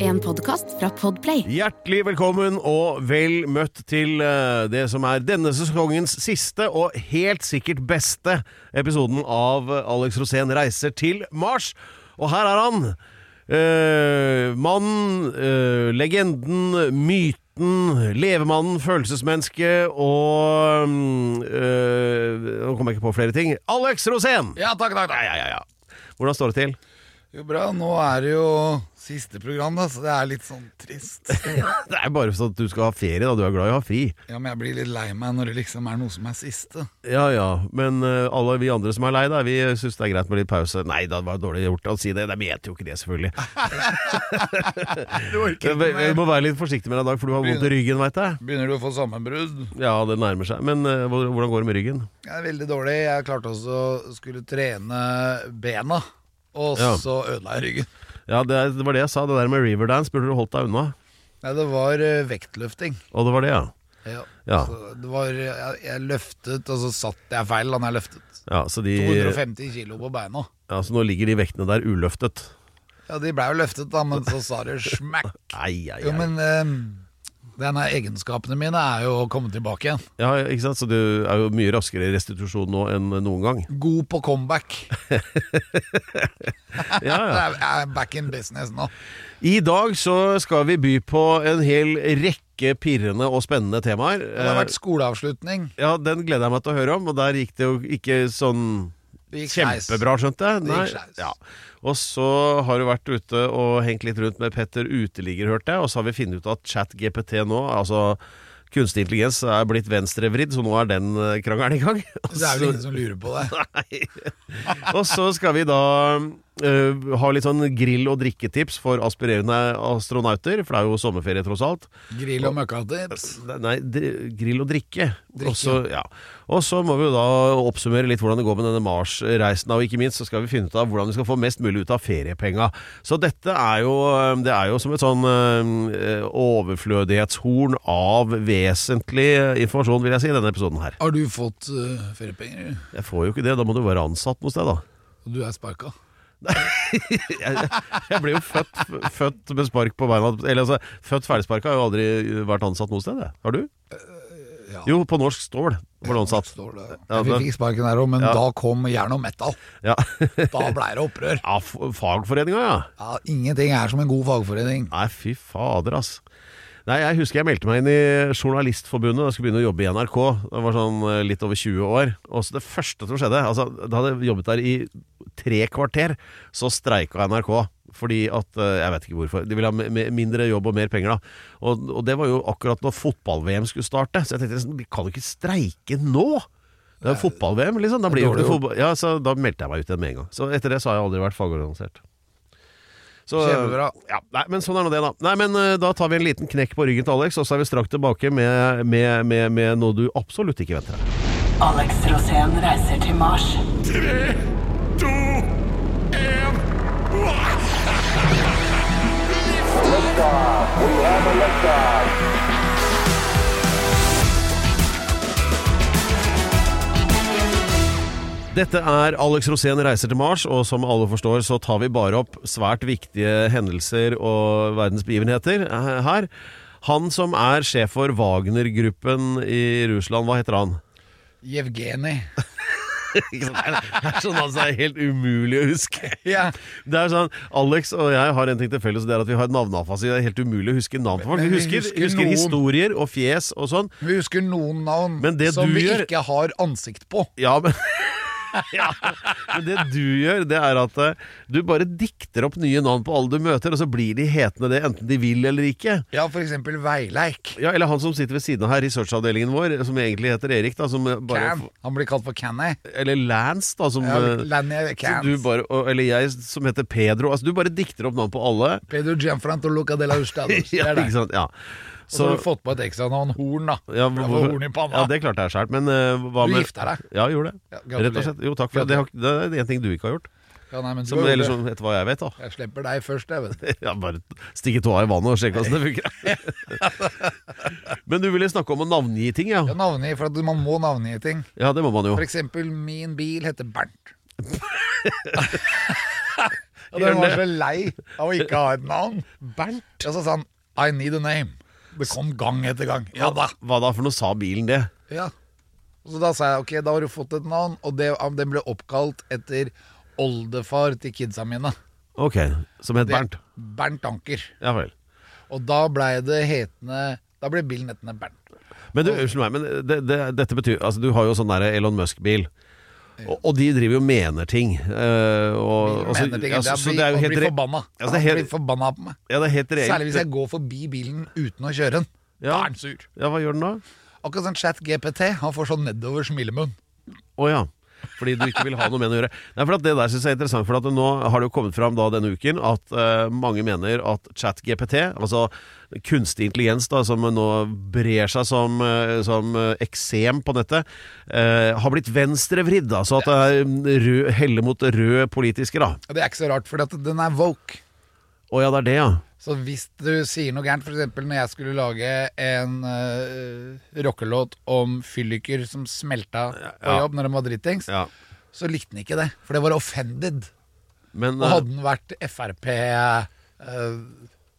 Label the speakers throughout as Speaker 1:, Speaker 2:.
Speaker 1: En podkast fra Podplay.
Speaker 2: Hjertelig velkommen og vel møtt til eh, det som er denne sesongens siste og helt sikkert beste episoden av eh, Alex Rosén reiser til Mars. Og her er han. Eh, mannen, eh, legenden, myten, levemannen, følelsesmennesket og mm, eh, Nå kommer jeg ikke på flere ting. Alex Rosén!
Speaker 3: Ja, takk, takk, takk.
Speaker 2: Ja, ja, ja. Hvordan står det til?
Speaker 3: Jo, bra. Nå er det jo siste program, da, så det er litt sånn trist.
Speaker 2: Det er bare sånn at du skal ha ferie, da. Du er glad i å ha fri.
Speaker 3: Ja, men jeg blir litt lei meg når det liksom er noe som er siste.
Speaker 2: Ja ja, men eh, alle vi andre som er lei deg, vi syns det er greit med litt pause. Nei da, det var dårlig gjort å si det. De vet jo ikke det, selvfølgelig.
Speaker 3: Du orker
Speaker 2: Vi
Speaker 3: ikke
Speaker 2: vi
Speaker 3: mer.
Speaker 2: må være litt forsiktig med deg i dag, for du har vondt i ryggen, veit jeg.
Speaker 3: Begynner du å få sammenbrudd?
Speaker 2: Ja, det nærmer seg. Men eh, hvor- hvordan går det med ryggen?
Speaker 3: Jeg er veldig dårlig. Jeg klarte også å skulle trene bena, og
Speaker 2: Ja.
Speaker 3: så ødela jeg ryggen.
Speaker 2: Ja, det, er- det var det jeg sa. Det der med Riverdance burde du holdt deg unna.
Speaker 3: Nei, det var eh, vektløfting.
Speaker 2: Og det var det, ja.
Speaker 3: Ja.
Speaker 2: Ja.
Speaker 3: Så det var, jeg, jeg løftet, og så satt jeg feil da når jeg løftet.
Speaker 2: Ja, så, de,
Speaker 3: 250 kilo på beina.
Speaker 2: ja, så nå ligger de vektene der uløftet.
Speaker 3: Ja, de blei jo løftet, da, men så sa det smekk.
Speaker 2: Ai, ai,
Speaker 3: Jo,
Speaker 2: ai.
Speaker 3: men eh, denne egenskapene mine er jo å komme tilbake igjen.
Speaker 2: Ja, ikke sant? Så du er jo mye raskere i restitusjon nå enn noen gang.
Speaker 3: God på comeback.
Speaker 2: Ja, ja.
Speaker 3: Jeg er back in business nå.
Speaker 2: I dag så skal vi by på en hel rekke pirrende og spennende temaer.
Speaker 3: Det har vært skoleavslutning.
Speaker 2: Eh, Ja, Den gleder jeg meg til å høre om, og der gikk det jo ikke sånn
Speaker 3: Det gikk skeis.
Speaker 2: kjempebra, skjønte jeg.
Speaker 3: Det gikk skeis.
Speaker 2: ja. Og så har du vært ute og hengt litt rundt med Petter Uteligger, hørte jeg, og så har vi funnet ut at ChatGPT nå, altså kunstig intelligens, er blitt venstrevridd, så nå er den eh, krangelen i gang.
Speaker 3: Det er vel ingen som lurer på det.
Speaker 2: Nei. Og så skal vi da eh, ha litt sånn grill- og drikketips for aspirerende astronauter, for det er jo sommerferie tross alt.
Speaker 3: Grill og møkkatips.
Speaker 2: Nei, dri- grill og drikke.
Speaker 3: Drikke.
Speaker 2: Og så- ja. Og så må vi jo da oppsummere litt hvordan det går med denne Mars-reisen. da, Og ikke minst så skal vi finne ut av hvordan vi skal få mest mulig ut av feriepenga. Så dette er jo, eh, det er jo som et sånn eh, overflødighetshorn av vesentlig eh, informasjon, vil jeg si, i denne episoden her.
Speaker 3: Har du fått eh, feriepenger?
Speaker 2: Jeg får jo ikke det, da må du være ansatt noe sted, da.
Speaker 3: Og du er sparka?
Speaker 2: jeg, jeg ble jo født, født med spark på beina. Eller altså, født ferdigsparka har jo aldri vært ansatt noe sted. jeg. Har du?
Speaker 3: Eh, ja.
Speaker 2: Jo, på norsk stål var du ansatt.
Speaker 3: Står det.
Speaker 2: Ja,
Speaker 3: Jeg
Speaker 2: det-
Speaker 3: fikk sparken der òg, men
Speaker 2: Ja.
Speaker 3: da kom jern og metal.
Speaker 2: Ja,
Speaker 3: Da blei det opprør.
Speaker 2: ja f- fagforeninga, ja.
Speaker 3: Ja, ingenting er som en god fagforening.
Speaker 2: Nei, fy fader, ass. Nei, Jeg husker jeg meldte meg inn i Journalistforbundet da jeg skulle begynne å jobbe i NRK. Jeg var sånn eh, litt over 20 år. Og så det første som skjedde altså, Da hadde jeg jobbet der i tre kvarter, så streika NRK. Fordi at eh, Jeg vet ikke hvorfor. De ville ha me- me- mindre jobb og mer penger, da. Og, og det var jo akkurat når fotball-VM skulle starte. Så jeg tenkte sånn, vi kan jo ikke streike nå! Det er jo fotball-VM, liksom. Da, blir jo
Speaker 3: dårlig
Speaker 2: ikke
Speaker 3: gjort.
Speaker 2: fotball. Ja, så da meldte jeg meg ut igjen med en gang. Så etter det så har jeg aldri vært fagorganisert. Så,
Speaker 3: Kjempebra.
Speaker 2: ja, nei, men sånn er nå det, da. Nei, men eh, Da tar vi en liten knekk på ryggen til Alex, og så er vi straks tilbake med, med, med, med noe du absolutt ikke venter deg.
Speaker 4: Alex Rosén reiser til Mars.
Speaker 2: Dette er Alex Rosén reiser til Mars, og som alle forstår, så tar vi bare opp svært viktige hendelser og verdensbegivenheter eh, her. Han som er sjef for Wagner-gruppen i Russland, hva heter han?
Speaker 3: Jevgenij.
Speaker 2: Ikke sant? Det er- det er sånn altså, det er helt umulig å huske.
Speaker 3: Ja.
Speaker 2: Det er sånn, Alex og jeg har en ting til felles, og det er at vi har navneavfasi. Det er helt umulig å huske navn på folk. Vi
Speaker 3: Men vi
Speaker 2: husker,
Speaker 3: husker
Speaker 2: husker
Speaker 3: noen.
Speaker 2: historier og fjes og sånn.
Speaker 3: Vi husker noen navn
Speaker 2: Men det
Speaker 3: som
Speaker 2: du
Speaker 3: vi
Speaker 2: gjør-
Speaker 3: ikke har ansikt på.
Speaker 2: Ja, men ja. Men det du gjør, det er at eh, du bare dikter opp nye navn på alle du møter, og så blir de hetende det, enten de vil eller ikke.
Speaker 3: Ja, for eksempel Veileik.
Speaker 2: Ja, Eller han som sitter ved siden av her, researchavdelingen vår, som egentlig heter Erik, da, som bare
Speaker 3: Can. Han blir kalt for Canny.
Speaker 2: Eller Lance, da, som
Speaker 3: Ja,
Speaker 2: eh,
Speaker 3: Lanny
Speaker 2: så
Speaker 3: Cans.
Speaker 2: du bare, og- eller jeg, som heter Pedro. Altså, du bare dikter opp navn på alle.
Speaker 3: Pedro Gianfrantoluca de la Hustados.
Speaker 2: Ja,
Speaker 3: det er det.
Speaker 2: ikke sant? Ja.
Speaker 3: Og så har du fått på et ekstra navn, Horn, da.
Speaker 2: Ja,
Speaker 3: For å få
Speaker 2: hvorfor-
Speaker 3: horn i panna.
Speaker 2: Ja, det klarte jeg sjæl, men eh, hva
Speaker 3: Du
Speaker 2: med
Speaker 3: gifta deg.
Speaker 2: Ja, jeg gjorde det.
Speaker 3: Ja, gratulerer.
Speaker 2: Rett og slett. Jo, takk for det. Det har- Det er en ting du ikke har gjort.
Speaker 3: Ja, nei, men du
Speaker 2: Som,
Speaker 3: har gjort
Speaker 2: eller
Speaker 3: det.
Speaker 2: som, etter hva jeg liksom vet, da.
Speaker 3: Jeg slipper deg først, jeg, vet du.
Speaker 2: Ja, bare stikke tåa i vannet og sjekke hvordan det funker. Men du ville snakke om å navngi ting, ja.
Speaker 3: Ja, navngi, for at man må navngi ting.
Speaker 2: Ja, det må man jo.
Speaker 3: For eksempel, min bil heter Bernt. Og
Speaker 2: Gjør den
Speaker 3: den var
Speaker 2: det?
Speaker 3: så lei av å ikke ha et navn. Bernt? Ja, så sa han I need a name. Det kom gang etter gang. Ja da.
Speaker 2: Hva da, for noe sa bilen det?
Speaker 3: Ja. Så da sa jeg ok, da har du fått et navn, og det, den ble oppkalt etter oldefar til kidsa mine.
Speaker 2: Ok, som het
Speaker 3: Det-
Speaker 2: Bernt.
Speaker 3: Bernt Anker.
Speaker 2: Ja vel.
Speaker 3: Og da blei det hetende Da ble bilen hetende Bernt.
Speaker 2: Men du, unnskyld meg, men det, det, dette betyr Altså, du har jo sånn der Elon Musk-bil. Og, og de driver jo og mener ting. eh, og, og så-
Speaker 3: Mener ting.
Speaker 2: ja,
Speaker 3: Det
Speaker 2: så-
Speaker 3: er
Speaker 2: så
Speaker 3: bli-
Speaker 2: det er jo
Speaker 3: å
Speaker 2: helt
Speaker 3: bli
Speaker 2: re-
Speaker 3: forbanna.
Speaker 2: Ja, så
Speaker 3: Han
Speaker 2: det er helt-
Speaker 3: blir forbanna på meg.
Speaker 2: Ja, det er helt reelt.
Speaker 3: Særlig hvis jeg går forbi bilen uten å kjøre den. Da
Speaker 2: Ja.
Speaker 3: er den sur.
Speaker 2: Ja, hva gjør den da?
Speaker 3: Akkurat sånn chat GPT. Han får sånn nedover smilemunn.
Speaker 2: Å ja. Fordi du ikke vil ha noe med den å gjøre. Nei, for at Det der synes jeg er interessant. For at nå har det jo kommet fram da denne uken at eh, mange mener at ChatGPT, altså kunstig intelligens da, som nå brer seg som, eh, som eh, eksem på nettet, eh, har blitt venstrevridd. Altså at det er mm, rød, heller mot rød politiske, da.
Speaker 3: Og Det er ikke så rart, for den er woke.
Speaker 2: Å ja, det er det, ja.
Speaker 3: Så hvis du sier noe gærent, f.eks. når jeg skulle lage en øh, rockelåt om fylliker som smelta på
Speaker 2: Ja.
Speaker 3: jobb når de var dritings,
Speaker 2: ja.
Speaker 3: så likte den ikke det. For det var offended.
Speaker 2: Men
Speaker 3: Og
Speaker 2: eh,
Speaker 3: hadde den vært Frp øh,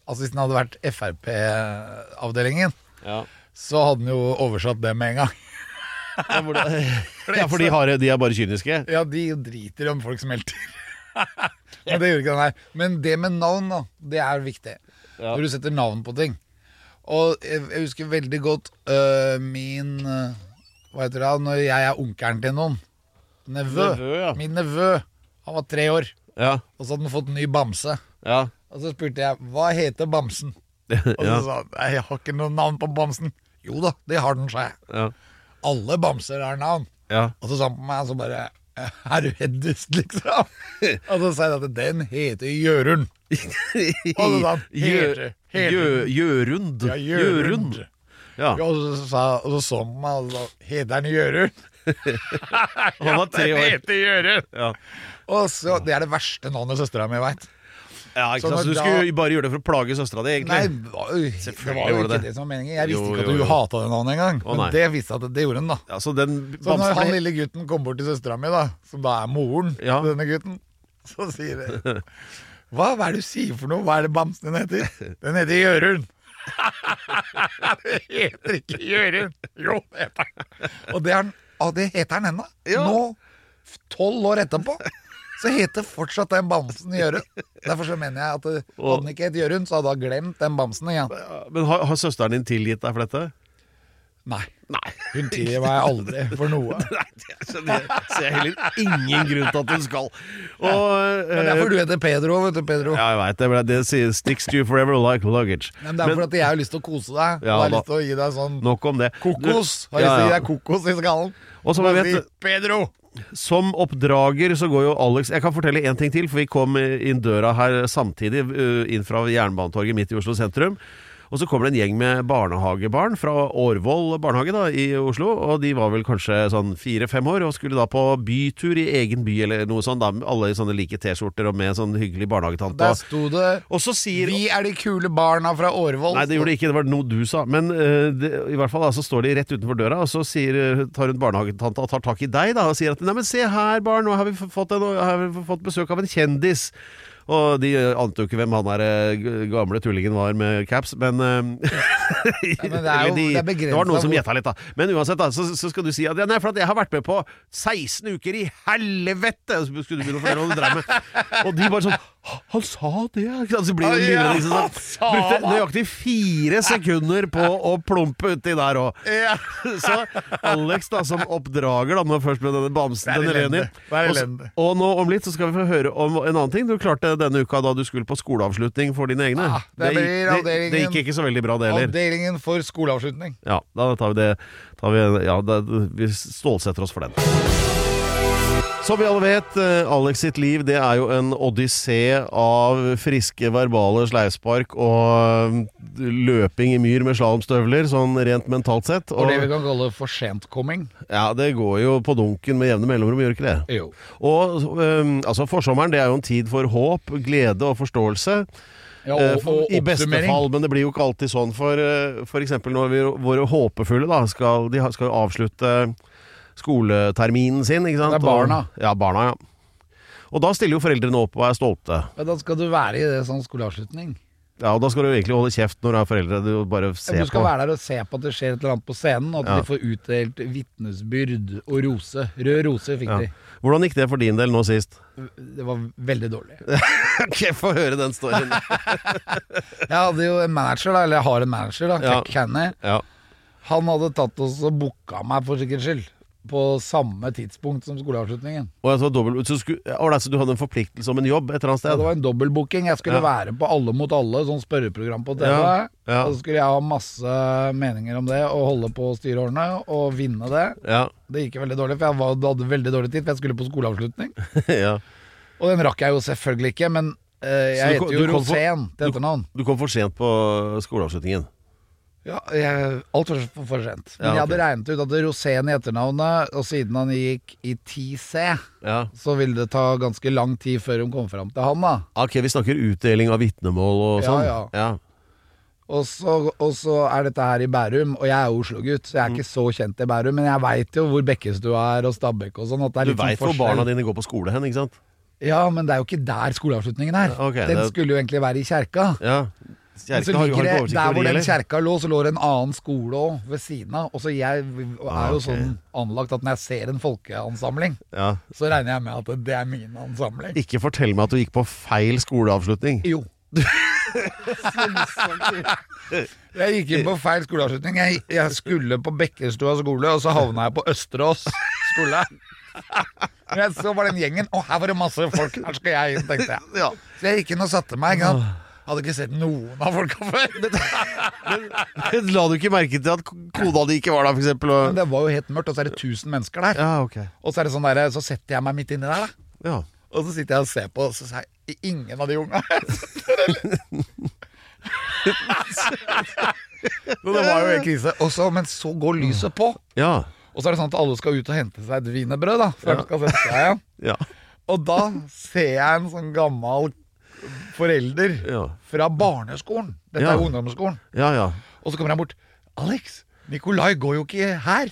Speaker 3: Altså hvis den hadde vært Frp-avdelingen,
Speaker 2: ja.
Speaker 3: så hadde den jo oversatt det med en gang.
Speaker 2: Ja, hvor det- ja, for de, har, de er bare kyniske?
Speaker 3: Ja, de driter om folk smelter. Men det gjør ikke den her. Men det med navn, da, det er viktig.
Speaker 2: Ja.
Speaker 3: Når du setter navn på ting. Og jeg, jeg husker veldig godt øh, min øh, Hva heter det? da, Når jeg er onkelen til noen. Nevø.
Speaker 2: Nevø, ja.
Speaker 3: Min nevø. Han var tre år,
Speaker 2: Ja.
Speaker 3: og så hadde han fått en ny bamse.
Speaker 2: Ja.
Speaker 3: Og så spurte jeg hva heter bamsen. Og så
Speaker 2: ja.
Speaker 3: sa han «Nei, jeg har ikke noe navn på bamsen. Jo da, det har den, sa jeg.
Speaker 2: ja.
Speaker 3: Alle bamser har navn.
Speaker 2: ja.
Speaker 3: Og så sa han på meg, så bare Er du heddest, liksom? Og så sa jeg at den heter Jørund. Og så sa han
Speaker 2: Gjø-
Speaker 3: Heter, heter.
Speaker 2: Gjø- Gjørund.
Speaker 3: Ja, Jørund.
Speaker 2: Gjørund. Ja.
Speaker 3: Ja, Og så, sa, og så så han på meg og så sa Heter han Jørund?
Speaker 2: Han var tre
Speaker 3: Den
Speaker 2: år.
Speaker 3: heter Jørund!
Speaker 2: Ja.
Speaker 3: Og så, Det er det verste navnet søstera mi veit.
Speaker 2: Ja, ikke
Speaker 3: Så
Speaker 2: sant? Så
Speaker 3: når
Speaker 2: du
Speaker 3: da-
Speaker 2: skulle bare gjøre det for å plage søstera di,
Speaker 3: Nei,
Speaker 2: egentlig?
Speaker 3: det var jo det var jo
Speaker 2: var det
Speaker 3: ikke
Speaker 2: det.
Speaker 3: det som var meningen. Jeg visste
Speaker 2: Jo, jo,
Speaker 3: ikke at du
Speaker 2: jo.
Speaker 3: hata det navnet engang.
Speaker 2: Å, nei.
Speaker 3: Men det viste at det gjorde hun, da.
Speaker 2: Ja, så den
Speaker 3: Så når han
Speaker 2: bamsen
Speaker 3: lille gutten kom bort til søstera mi, da, som da er moren
Speaker 2: Ja.
Speaker 3: til denne gutten, så sier det hva, hva er det du sier for noe? Hva er det bamsen din heter? Den heter Jørund. det heter ikke Jørund. Jo, det heter den. Og det, er, den- og det heter den ennå. Nå, f- tolv år etterpå, så heter fortsatt den bamsen Jørund. Derfor så mener jeg at eh, hadde den ikke hett Jørund, så hadde hun glemt den bamsen igjen.
Speaker 2: Men har, har søsteren din tilgitt deg for dette?
Speaker 3: Nei. Hun tilgir meg aldri for noe.
Speaker 2: Nei, det skjønner jeg. ser jeg heller ingen grunn til at hun skal. Og,
Speaker 3: Det er
Speaker 2: eh,
Speaker 3: derfor du heter Pedro, vet du, Pedro.
Speaker 2: ja, jeg veit det. men Det sier 'sticks to you forever like luggage'.
Speaker 3: Nei, men det er for at jeg har lyst til å kose
Speaker 2: Ja,
Speaker 3: deg. og jeg har
Speaker 2: da-
Speaker 3: lyst til å gi deg sånn
Speaker 2: Nok om det.
Speaker 3: kokos.
Speaker 2: Du-
Speaker 3: Har lyst til å
Speaker 2: ja, ja.
Speaker 3: gi deg kokos i skallen.
Speaker 2: Og som jeg
Speaker 3: Bare
Speaker 2: vet,
Speaker 3: si, Pedro!
Speaker 2: Som oppdrager så går jo Alex Jeg kan fortelle en ting til, for vi kom inn døra her samtidig ø, inn fra Jernbanetorget midt i Oslo sentrum. Og så kommer det en gjeng med barnehagebarn fra Årvoll barnehage da, i Oslo. Og de var vel kanskje sånn fire-fem år og skulle da på bytur i egen by eller noe sånt. Da, med alle i sånne like T-skjorter og med sånn hyggelig barnehagetante.
Speaker 3: Der sto det
Speaker 2: Og så sier
Speaker 3: Vi er de kule barna fra Årvoll.
Speaker 2: Nei, det gjorde det ikke. Det var noe du sa. Men eh, det, i hvert fall da, så står de rett utenfor døra, og så sier, eh, tar hun barnehagetanta og tar tak i deg da, og sier at Nei, men se her, barn, nå har vi f- fått, en, nå har vi fått besøk av en kjendis. Og de eh, ante jo ikke hvem han der eh, g- gamle tullingen var med caps, men eh,
Speaker 3: men det er jo-
Speaker 2: eller de-
Speaker 3: det er begrenset
Speaker 2: det var noen som
Speaker 3: hvor-
Speaker 2: gjetta litt, da. Men uansett, da, så, så skal du si at ja, nei, for at jeg har vært med på 16 uker i helvete! Og så skulle du begynne å fortelle hva du drev med. Og de bare sånn Han sa det, ja! Ikke sant? Så blir det
Speaker 3: Ja,
Speaker 2: lille, liksom,
Speaker 3: han sa
Speaker 2: sånn. Brukte nøyaktig fire sekunder på å plumpe uti der òg.
Speaker 3: Ja.
Speaker 2: Så Alex, da, som oppdrager, da, nå først med denne bamsen,
Speaker 3: Det er
Speaker 2: denne
Speaker 3: elendig.
Speaker 2: Lenin
Speaker 3: Det er
Speaker 2: Og s-
Speaker 3: elendig.
Speaker 2: Og nå om litt så skal vi få høre om en annen ting du klarte denne uka da du skulle på skoleavslutning for dine egne.
Speaker 3: Ah, det
Speaker 2: gikk-
Speaker 3: blir
Speaker 2: det, det
Speaker 3: avdelingen-
Speaker 2: gikk ikke så veldig bra, det heller.
Speaker 3: Avdelingen for skoleavslutning.
Speaker 2: Ja, da tar vi det tar vi, Ja, da, vi stålsetter oss for den. Som vi alle vet, eh, Alex sitt liv det er jo en odyssé av friske verbale sleivspark og mm, løping i myr med slalåmstøvler, sånn rent mentalt sett.
Speaker 3: Og
Speaker 2: Og,
Speaker 3: det vi kan kalle for sentkomming.
Speaker 2: ja, det går jo på dunken med jevne mellomrom, gjør ikke det?
Speaker 3: Jo.
Speaker 2: Og øhm, altså, forsommeren det er jo en tid for håp, glede og forståelse.
Speaker 3: Ja,
Speaker 2: Eh,
Speaker 3: og,
Speaker 2: for-
Speaker 3: og
Speaker 2: I beste
Speaker 3: oppsummering.
Speaker 2: fall, men det blir jo ikke alltid sånn. For eh, for eksempel når vi, våre håpefulle da, skal, de har- skal jo avslutte skoleterminen sin. Ikke sant?
Speaker 3: Det er barna.
Speaker 2: Og, ja, barna, ja. Og da stiller jo foreldrene opp og er stolte.
Speaker 3: Ja, da skal du være i det sånn skoleavslutning.
Speaker 2: Ja, og Da skal du egentlig holde kjeft når du er foreldre. Du bare
Speaker 3: Ja,
Speaker 2: ser
Speaker 3: du skal
Speaker 2: på.
Speaker 3: være der og se på at det skjer et eller annet på scenen, og at
Speaker 2: Ja.
Speaker 3: de får utdelt vitnesbyrd og rose. Rød rose fikk
Speaker 2: Ja. Hvordan gikk det for din del nå sist?
Speaker 3: de. Det var veldig dårlig.
Speaker 2: Ok, Få høre den storyen.
Speaker 3: Jeg hadde jo en manager, da, eller jeg har en manager, da,
Speaker 2: Ja.
Speaker 3: Jack Canny.
Speaker 2: ja.
Speaker 3: Han hadde tatt oss og booka meg for sikkerhets skyld. På samme tidspunkt som skoleavslutningen.
Speaker 2: Og jeg tror dobbelt, så, skulle, Åh, så du hadde en forpliktelse om en jobb et eller annet
Speaker 3: Ja,
Speaker 2: sted?
Speaker 3: det var en dobbeltbooking. Jeg skulle
Speaker 2: Ja.
Speaker 3: være på Alle mot alle, sånn spørreprogram på TV.
Speaker 2: Ja, ja.
Speaker 3: Og så skulle jeg ha masse meninger om det, og holde på å styre årene, og vinne det.
Speaker 2: Ja.
Speaker 3: Det gikk jo veldig dårlig, for jeg var, hadde veldig dårlig tid, for jeg skulle på skoleavslutning.
Speaker 2: ja.
Speaker 3: Og den rakk jeg jo selvfølgelig ikke, men eh,
Speaker 2: Så du
Speaker 3: jeg
Speaker 2: kom-
Speaker 3: heter jo
Speaker 2: du kom for- du-
Speaker 3: Rosén til etternavn.
Speaker 2: Du kom for sent på skoleavslutningen.
Speaker 3: Ja, jeg, alt var for, for sent. Men
Speaker 2: Ja, ok.
Speaker 3: jeg hadde regnet ut at Rosén i etternavnet, og siden han gikk i 10C,
Speaker 2: Ja.
Speaker 3: så ville det ta ganske lang tid før hun kom fram til han, da.
Speaker 2: Ok, vi snakker utdeling av vitnemål og
Speaker 3: Ja,
Speaker 2: sånn.
Speaker 3: ja.
Speaker 2: ja.
Speaker 3: Og så, og så er dette her i Bærum, og jeg er jo Oslo-gutt, så jeg
Speaker 2: Mm.
Speaker 3: er ikke så kjent i Bærum, men jeg veit jo hvor Bekkestua er og Stabekk og sånn. At det er
Speaker 2: Du
Speaker 3: litt
Speaker 2: veit
Speaker 3: sånn
Speaker 2: hvor barna
Speaker 3: forskjell.
Speaker 2: dine går på skole hen, ikke sant?
Speaker 3: Ja, men det er jo ikke der skoleavslutningen er.
Speaker 2: Ok,
Speaker 3: Den
Speaker 2: det-
Speaker 3: skulle jo egentlig være i kjerka.
Speaker 2: Ja.
Speaker 3: Men så
Speaker 2: Kjerka har jo
Speaker 3: ligger
Speaker 2: ikke
Speaker 3: det,
Speaker 2: oversikt
Speaker 3: Der
Speaker 2: over de,
Speaker 3: hvor den
Speaker 2: eller?
Speaker 3: kjerka lå, så lå det en annen skole òg ved siden av. Og så Jeg er
Speaker 2: Ah,
Speaker 3: jo
Speaker 2: ok.
Speaker 3: sånn anlagt at når jeg ser en folkeansamling,
Speaker 2: Ja.
Speaker 3: så regner jeg med at det er min ansamling.
Speaker 2: Ikke fortell meg at du gikk på feil skoleavslutning.
Speaker 3: Jo. jeg gikk inn på feil skoleavslutning. Jeg, jeg skulle på Bekkestua skole, og så havna jeg på Østerås skole. Men jeg så bare den gjengen, og her var det masse folk, her skal jeg inn, tenkte jeg. Så jeg gikk inn og satte meg. Ikke sant? Hadde ikke sett noen av folka før.
Speaker 2: La du ikke merke til at k- kona di ikke var der, for eksempel?
Speaker 3: Men
Speaker 2: Og...
Speaker 3: det var jo helt mørkt, og så er det 1000 mennesker der.
Speaker 2: Ja, ok.
Speaker 3: Og så er det sånn der, så setter jeg meg midt inni der, da.
Speaker 2: Ja.
Speaker 3: Og så sitter jeg og ser på, og så sier jeg ingen av de unga. Men det var jo helt krise. Og så- men så går lyset på.
Speaker 2: Ja.
Speaker 3: Og så er det sånn at alle skal ut og hente seg et wienerbrød, da. Før de skal sette seg igjen.
Speaker 2: Ja.
Speaker 3: Og da ser jeg en sånn gammel
Speaker 2: Ja.
Speaker 3: forelder fra barneskolen. Dette er
Speaker 2: Ja.
Speaker 3: jo ungdomsskolen.
Speaker 2: Ja, ja.
Speaker 3: Og så kommer han bort. Alex, Nikolai går jo ikke her.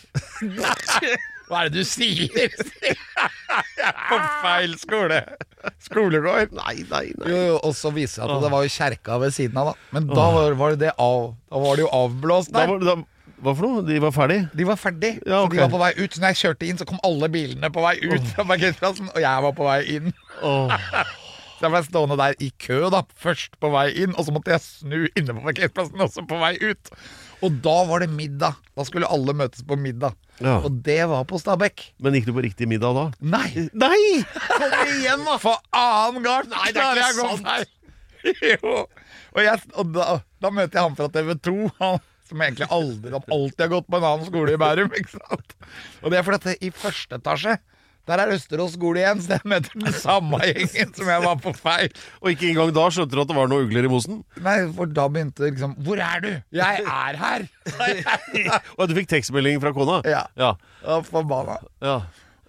Speaker 3: Hva er det du sier? Jeg er på feil skole. Skolegård.
Speaker 2: Nei, nei, nei.
Speaker 3: Jo, jo, og så viser det seg at det var jo kjerka ved siden av, da. Men da var, var, det, det av, da var det jo avblåst
Speaker 2: Da
Speaker 3: der.
Speaker 2: var, da, hva for noe? De var ferdig?
Speaker 3: De var ferdig,
Speaker 2: Ja,
Speaker 3: så de
Speaker 2: ok.
Speaker 3: var på vei ut. Så når jeg kjørte inn, så kom alle bilene på vei ut fra parkeringsplassen, og jeg var på vei inn. Så jeg ble stående der i kø, da. Først på vei inn, og så måtte jeg snu inne på parkeringsplassen, også på vei ut. Og da var det middag. Da skulle alle møtes på middag.
Speaker 2: Ja.
Speaker 3: Og det var på Stabekk.
Speaker 2: Men gikk du på riktig middag da?
Speaker 3: Nei!
Speaker 2: Nei!
Speaker 3: Kom igjen, da! For annen gang Nei,
Speaker 2: det er ikke sant.
Speaker 3: Jo. Og, jeg, og da, da møter jeg han fra TV 2, han som egentlig aldri han alltid har gått på en annen skole i Bærum. ikke sant? Og det er fordi at det- i første etasje der er Østerås skole igjen, så jeg møter den samme gjengen som jeg var på feil.
Speaker 2: Og ikke engang da skjønte du at det var noen ugler i mosen?
Speaker 3: Nei, for da begynte det liksom Hvor er du? Jeg er her!
Speaker 2: Og du fikk tekstmelding fra kona?
Speaker 3: Ja.
Speaker 2: Ja.
Speaker 3: Og forbanna.
Speaker 2: ja.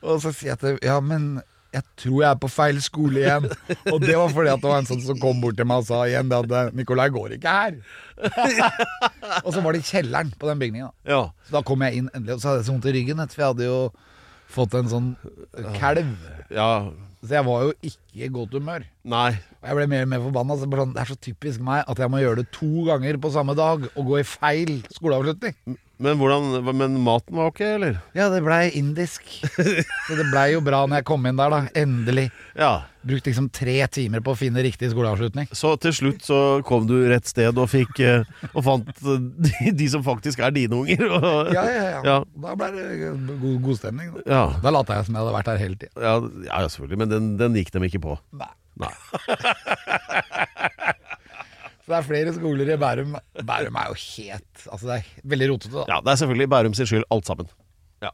Speaker 3: Og så sier jeg til Ja, men jeg tror jeg er på feil skole igjen. Og det var fordi at det var en sånn som kom bort til meg og sa igjen det at Nikolai går ikke her. og så var det i kjelleren på den bygningen. da.
Speaker 2: ja.
Speaker 3: Så da kom jeg inn endelig, og så hadde jeg så vondt i ryggen, for jeg hadde jo fått en sånn kalv.
Speaker 2: Ja,
Speaker 3: Så jeg var jo ikke i godt humør.
Speaker 2: nei
Speaker 3: Og jeg ble mer og mer forbanna. Så bare sånn, det er så typisk meg at jeg må gjøre det to ganger på samme dag og gå i feil skoleavslutning.
Speaker 2: Men, hvordan, men maten var ok, eller?
Speaker 3: Ja, det blei indisk. Så det blei jo bra når jeg kom inn der, da. Endelig.
Speaker 2: Ja,
Speaker 3: Brukt liksom tre timer på å finne riktig skoleavslutning.
Speaker 2: så til slutt så kom du rett sted og fikk eh, Og fant eh, de, de som faktisk er dine unger og,
Speaker 3: Ja, ja, ja.
Speaker 2: Ja,
Speaker 3: Da ble det god, god stemning. Da.
Speaker 2: ja,
Speaker 3: da lata jeg som jeg hadde vært her hele tida.
Speaker 2: ja, ja, selvfølgelig, men den, den gikk dem ikke på Nei
Speaker 3: Så det er flere skoler i Bærum. Bærum er jo helt Altså, det er veldig rotete, da.
Speaker 2: Ja, det er selvfølgelig Bærum sin skyld alt sammen ja.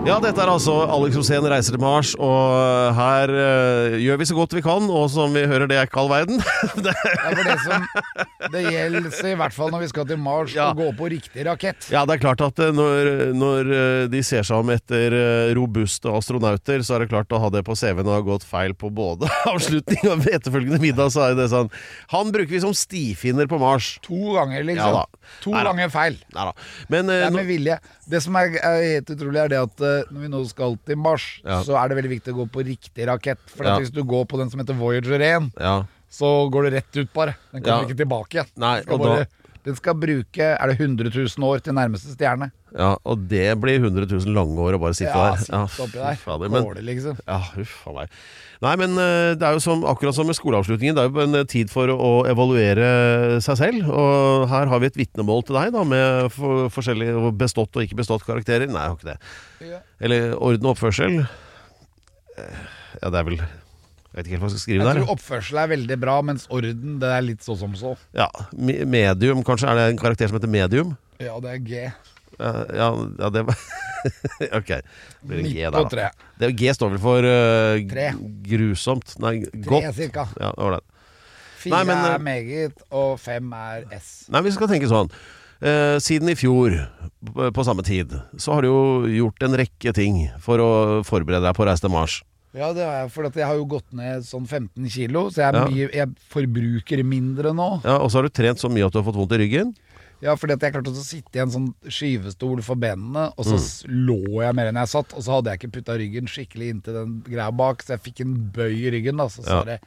Speaker 2: Ja, dette er altså Alex Rosén reiser til Mars, og her eh, gjør vi så godt vi kan, og som vi hører, det er ikke all verden. det,
Speaker 3: Det er for det som Det gjelder i hvert fall når vi skal til Mars,
Speaker 2: Ja.
Speaker 3: å gå på riktig rakett.
Speaker 2: ja, det er klart at eh, når, når eh, de ser seg om etter eh, robuste astronauter, så er det klart å ha det på CV-en og ha gått feil på både avslutning og etterfølgende middag, så er det sånn. Han bruker vi som stifinner på Mars.
Speaker 3: To ganger,
Speaker 2: Ja
Speaker 3: liksom.
Speaker 2: da.
Speaker 3: to
Speaker 2: Nei da.
Speaker 3: ganger feil.
Speaker 2: Nei da. Men
Speaker 3: Det
Speaker 2: eh,
Speaker 3: er med
Speaker 2: nå-
Speaker 3: vilje. Det som er, er helt utrolig, er det at eh, når vi nå skal til Mars,
Speaker 2: Ja.
Speaker 3: så er det veldig viktig å gå på riktig rakett. For
Speaker 2: Ja.
Speaker 3: at hvis du går på den som heter Voyager 1,
Speaker 2: ja.
Speaker 3: så går du rett ut, bare. Den kommer
Speaker 2: Ja.
Speaker 3: ikke tilbake igjen.
Speaker 2: Nei,
Speaker 3: Den skal
Speaker 2: og da-
Speaker 3: bare, den skal bruke Er det 100 000 år til nærmeste stjerne?
Speaker 2: Ja, og det blir 100 000 lange år å bare sitte
Speaker 3: Ja,
Speaker 2: der.
Speaker 3: sitte oppi der.
Speaker 2: fy fader, men-
Speaker 3: Dårlig, liksom.
Speaker 2: Ja, uff a meg. Nei, men eh, det er jo som, akkurat som med skoleavslutningen, det er jo en eh, tid for å evaluere seg selv. Og her har vi et vitnemål til deg, da, med for, forskjellige bestått og ikke bestått karakterer. Nei, jeg har ikke det.
Speaker 3: Ja.
Speaker 2: Eller orden og oppførsel. Eh, Ja, det er vel Jeg vet ikke helt hva jeg skal skrive
Speaker 3: Jeg
Speaker 2: der.
Speaker 3: tror oppførsel er veldig bra, mens orden det er litt så som så.
Speaker 2: Ja, me- Medium, kanskje. Er det en karakter som heter medium?
Speaker 3: Ja, det er G.
Speaker 2: Ja, ja, ja det var Ok. Det blir en
Speaker 3: Midt
Speaker 2: G der,
Speaker 3: på
Speaker 2: da.
Speaker 3: treet.
Speaker 2: Det, er- G står vel for eh,
Speaker 3: Tre.
Speaker 2: grusomt. Nei,
Speaker 3: Tre,
Speaker 2: godt.
Speaker 3: cirka.
Speaker 2: Ja, ålreit.
Speaker 3: Fire
Speaker 2: Nei, men, eh,
Speaker 3: er meget, og fem er S.
Speaker 2: Nei, vi skal tenke sånn. Eh, siden i fjor, p- på samme tid, så har du jo gjort en rekke ting for å forberede deg på å reise til Mars.
Speaker 3: Ja, det har jeg, for at jeg har jo gått ned sånn 15 kilo, så jeg, er
Speaker 2: Ja.
Speaker 3: mye, jeg forbruker mindre nå.
Speaker 2: Ja, og så har du trent så mye at du har fått vondt i ryggen.
Speaker 3: Ja, fordi at jeg klarte også å sitte i en sånn skyvestol for benene, og
Speaker 2: Mm.
Speaker 3: så s- lå jeg mer enn jeg satt, og så hadde jeg ikke putta ryggen skikkelig inntil den greia bak, så jeg fikk en bøy i ryggen, da, så
Speaker 2: Ja.
Speaker 3: sa det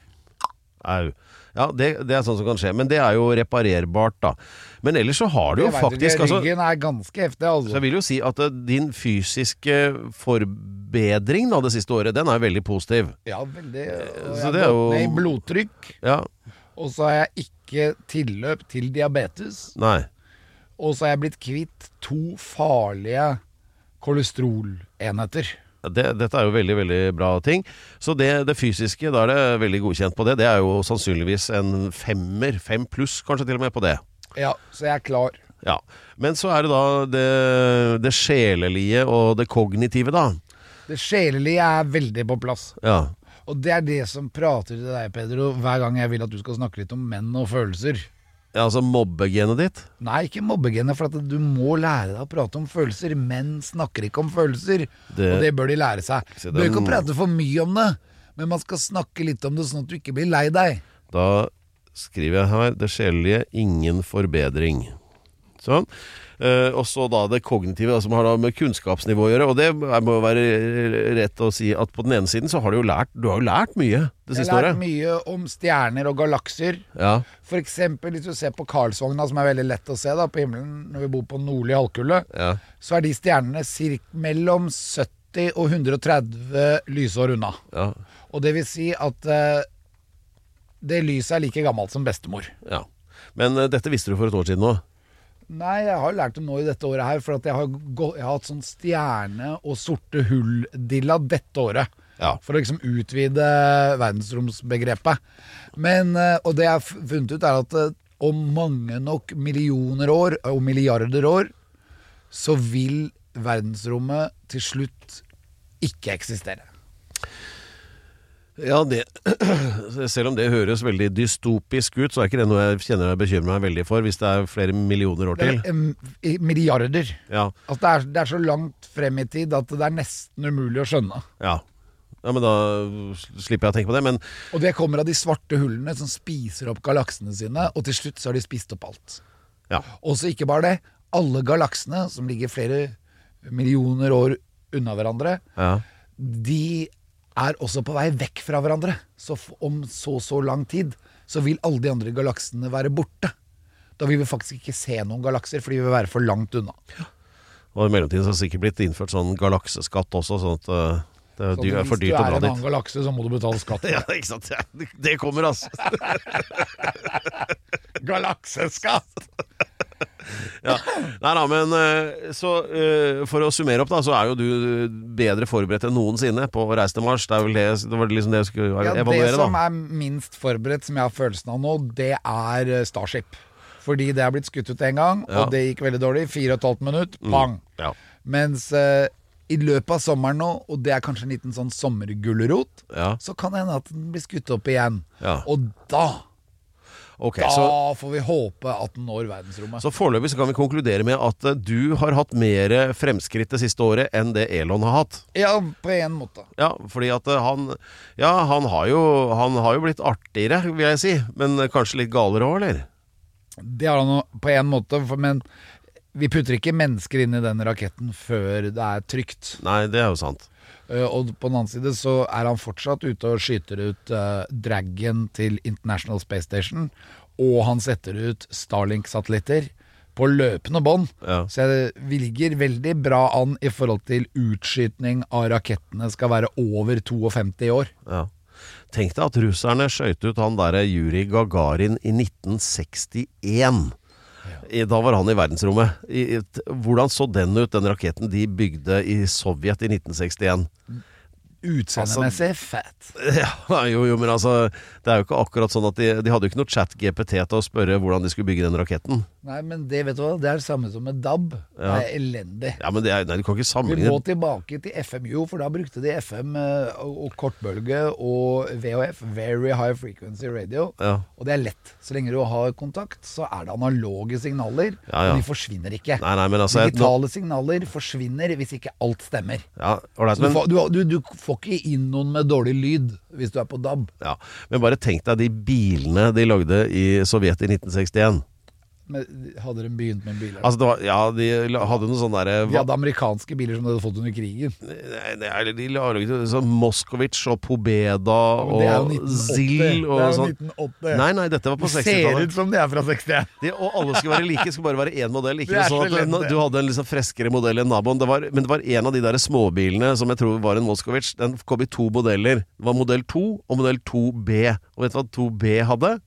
Speaker 2: Au. Ja, det, det er sånn som kan skje, men det er jo reparerbart, da. Men ellers så har du jo
Speaker 3: Jeg vet
Speaker 2: faktisk
Speaker 3: ikke,
Speaker 2: altså,
Speaker 3: Ryggen er ganske heftig,
Speaker 2: Så
Speaker 3: altså.
Speaker 2: jeg vil jo si at eh, din fysiske forbedring da, det siste året, den er veldig positiv.
Speaker 3: Ja, veldig. Og
Speaker 2: Eh, Så
Speaker 3: jeg har
Speaker 2: det er jo-
Speaker 3: gått ned i blodtrykk,
Speaker 2: Ja,
Speaker 3: og så har jeg ikke tilløp til diabetes,
Speaker 2: nei.
Speaker 3: og så har jeg blitt kvitt to farlige kolesterolenheter.
Speaker 2: Ja, Det, dette er jo veldig, veldig bra ting. Så det, det fysiske, da er det veldig godkjent på det. Det er jo sannsynligvis en femmer, fem pluss kanskje til og med på det.
Speaker 3: Ja, så jeg er klar.
Speaker 2: Ja. Men så er det da det, det sjelelige og det kognitive, da.
Speaker 3: Det sjelelige er veldig på plass.
Speaker 2: Ja.
Speaker 3: Og det er det som prater til deg, Pedro, hver gang jeg vil at du skal snakke litt om menn og følelser.
Speaker 2: ja altså mobbegenet ditt.
Speaker 3: Nei, ikke mobbegenet, for at du må lære deg å prate om følelser. Menn snakker ikke om følelser,
Speaker 2: Det-
Speaker 3: og det bør de lære seg.
Speaker 2: Se,
Speaker 3: Du bør ikke
Speaker 2: den-
Speaker 3: prate for mye om det, men man skal snakke litt om det sånn at du ikke blir lei deg.
Speaker 2: Da skriver jeg her det sjelelige ingen forbedring. Sånn. Eh, og så da det kognitive, da, som har da med kunnskapsnivå å gjøre. Og det er- må jo være rett å si at på den ene siden så har du jo lært Du har jo lært mye det
Speaker 3: Jeg
Speaker 2: siste
Speaker 3: har lært
Speaker 2: året.
Speaker 3: mye om stjerner og galakser.
Speaker 2: Ja.
Speaker 3: For eksempel hvis du ser på Karlsvogna, som er veldig lett å se da, på himmelen når vi bor på nordlig halvkule,
Speaker 2: Ja.
Speaker 3: så er de stjernene cirk mellom 70 og 130 lysår unna.
Speaker 2: Ja.
Speaker 3: Og det vil si at eh, det lyset er like gammelt som bestemor.
Speaker 2: ja. Men eh, dette visste du for et år siden òg.
Speaker 3: Nei, jeg har lært det nå i dette året her, for at jeg har, gå, jeg har hatt sånn stjerne- og sorte hull-dilla dette året.
Speaker 2: Ja.
Speaker 3: For å liksom utvide verdensromsbegrepet. Men, eh, og det jeg har funnet ut er at eh, om mange nok millioner år, og milliarder år, så vil verdensrommet til slutt ikke eksistere.
Speaker 2: Ja, det Selv om det høres veldig dystopisk ut, så er ikke det noe jeg kjenner jeg bekymrer meg veldig for hvis det er flere millioner år
Speaker 3: Det
Speaker 2: til.
Speaker 3: er, eh, milliarder.
Speaker 2: Ja.
Speaker 3: Altså, det, er, det er så langt frem i tid at det er nesten umulig å skjønne.
Speaker 2: ja. Ja, men da slipper jeg å tenke på det. Men
Speaker 3: Og det kommer av de svarte hullene som spiser opp galaksene sine, og til slutt så har de spist opp alt.
Speaker 2: ja.
Speaker 3: Og så ikke bare det, alle galaksene som ligger flere millioner år unna hverandre,
Speaker 2: ja.
Speaker 3: de er også på vei vekk fra hverandre. Så f- om så så lang tid så vil alle de andre galaksene være borte. Da vil vi faktisk ikke se noen galakser, for de vil være for langt unna.
Speaker 2: Og i mellomtiden så har det sikkert blitt innført sånn galakseskatt også, sånn at eh, det er
Speaker 3: Så
Speaker 2: dyr- er for
Speaker 3: hvis
Speaker 2: dyrt
Speaker 3: du
Speaker 2: å dra
Speaker 3: er en
Speaker 2: dit.
Speaker 3: annen galakse, så må du betale skatt.
Speaker 2: Ja, ikke sant. Det- Det kommer, altså.
Speaker 3: Galakseskatt!
Speaker 2: Ja. Nei da, men eh, så eh, for å summere opp, da, så er jo du bedre forberedt enn noensinne på å reise til Mars. Det, er vel det, det var liksom det jeg skulle
Speaker 3: Ja, det
Speaker 2: evaluere,
Speaker 3: som
Speaker 2: da.
Speaker 3: er minst forberedt, som jeg har følelsen av nå, det er eh, Starship. Fordi det er blitt skutt ut en gang,
Speaker 2: Ja. Mm.
Speaker 3: og det gikk veldig dårlig. Fire og et halvt minutt, pang.
Speaker 2: Ja.
Speaker 3: Mens eh, i løpet av sommeren nå, og det er kanskje en liten sånn sommergulrot,
Speaker 2: Ja.
Speaker 3: så kan det hende at den blir skutt opp igjen.
Speaker 2: Ja.
Speaker 3: Og da,
Speaker 2: Ok,
Speaker 3: da
Speaker 2: så,
Speaker 3: får vi håpe at den når verdensrommet.
Speaker 2: så foreløpig så kan vi konkludere med at eh, du har hatt mer fremskritt det siste året enn det Elon har hatt.
Speaker 3: Ja, på en måte.
Speaker 2: Ja, fordi at eh, han Ja, han har jo, han har jo blitt artigere, vil jeg si. Men eh, kanskje litt galere òg, eller?
Speaker 3: Det har han jo på en måte, for, men vi putter ikke mennesker inn i den raketten før det er trygt.
Speaker 2: Nei, det er jo sant.
Speaker 3: Eh, Og på den annen side så er han fortsatt ute og skyter ut eh, Dragon til International Space Station, og han setter ut Starlink-satellitter på løpende bånd.
Speaker 2: Ja.
Speaker 3: Så jeg- vi ligger veldig bra an i forhold til utskytning av rakettene skal være over 52 år.
Speaker 2: Ja. Tenk deg at russerne skøyt ut han derre Jurij Gagarin i 1961. I- Da var han i verdensrommet. I, i, t- hvordan så den ut, den raketten de bygde i Sovjet i 1961? Altså-
Speaker 3: Utseendemessig fett.
Speaker 2: Ja, jo, jo, men altså Det er jo ikke akkurat sånn at de, de hadde jo ikke noe chat-GPT til å spørre hvordan de skulle bygge den raketten.
Speaker 3: Nei, men det vet du hva, det er det samme som med DAB.
Speaker 2: Ja.
Speaker 3: Det er elendig.
Speaker 2: Ja, men det er, nei, Du kan ikke
Speaker 3: Vi må
Speaker 2: sammenligne
Speaker 3: tilbake til FMU, for da brukte de FM eh, og og kortbølge og VHF, Very High Frequency Radio.
Speaker 2: Ja.
Speaker 3: Og det er lett. Så lenge du har kontakt, så er det analoge signaler.
Speaker 2: Ja, ja.
Speaker 3: Og de forsvinner ikke.
Speaker 2: Nei, nei, men altså jeg-
Speaker 3: Digitale signaler forsvinner hvis ikke alt stemmer.
Speaker 2: ja, ålreit,
Speaker 3: Så du,
Speaker 2: Altså, men,
Speaker 3: får, du, du, du får ikke inn noen med dårlig lyd hvis du er på DAB.
Speaker 2: ja, men bare tenk deg de bilene de lagde i Sovjet i 1961.
Speaker 3: Men hadde de begynt med biler?
Speaker 2: Altså, det var, ja, de la- hadde noe sånn derre
Speaker 3: de hadde amerikanske biler som de hadde fått under krigen.
Speaker 2: Nei, det er, de laget jo sånn Moskowitz og Pobeda
Speaker 3: men det er jo
Speaker 2: og
Speaker 3: 1980.
Speaker 2: Zill og
Speaker 3: Det er jo
Speaker 2: sånn.
Speaker 3: 1980.
Speaker 2: Nei, nei, dette var på
Speaker 3: Det ser ut
Speaker 2: 60-tallet.
Speaker 3: som de er fra 61.
Speaker 2: De- Og alle skulle være like, skulle bare være én modell. Ikke
Speaker 3: Det
Speaker 2: noe
Speaker 3: er
Speaker 2: sånn
Speaker 3: så
Speaker 2: at
Speaker 3: lett,
Speaker 2: en-
Speaker 3: det.
Speaker 2: Du hadde en liksom freskere modell enn naboen. Det var, men det var en av de der småbilene som jeg tror var en Moskowitz. Den kom i to modeller. Det var modell 2 og modell 2B. Og vet du hva 2B hadde?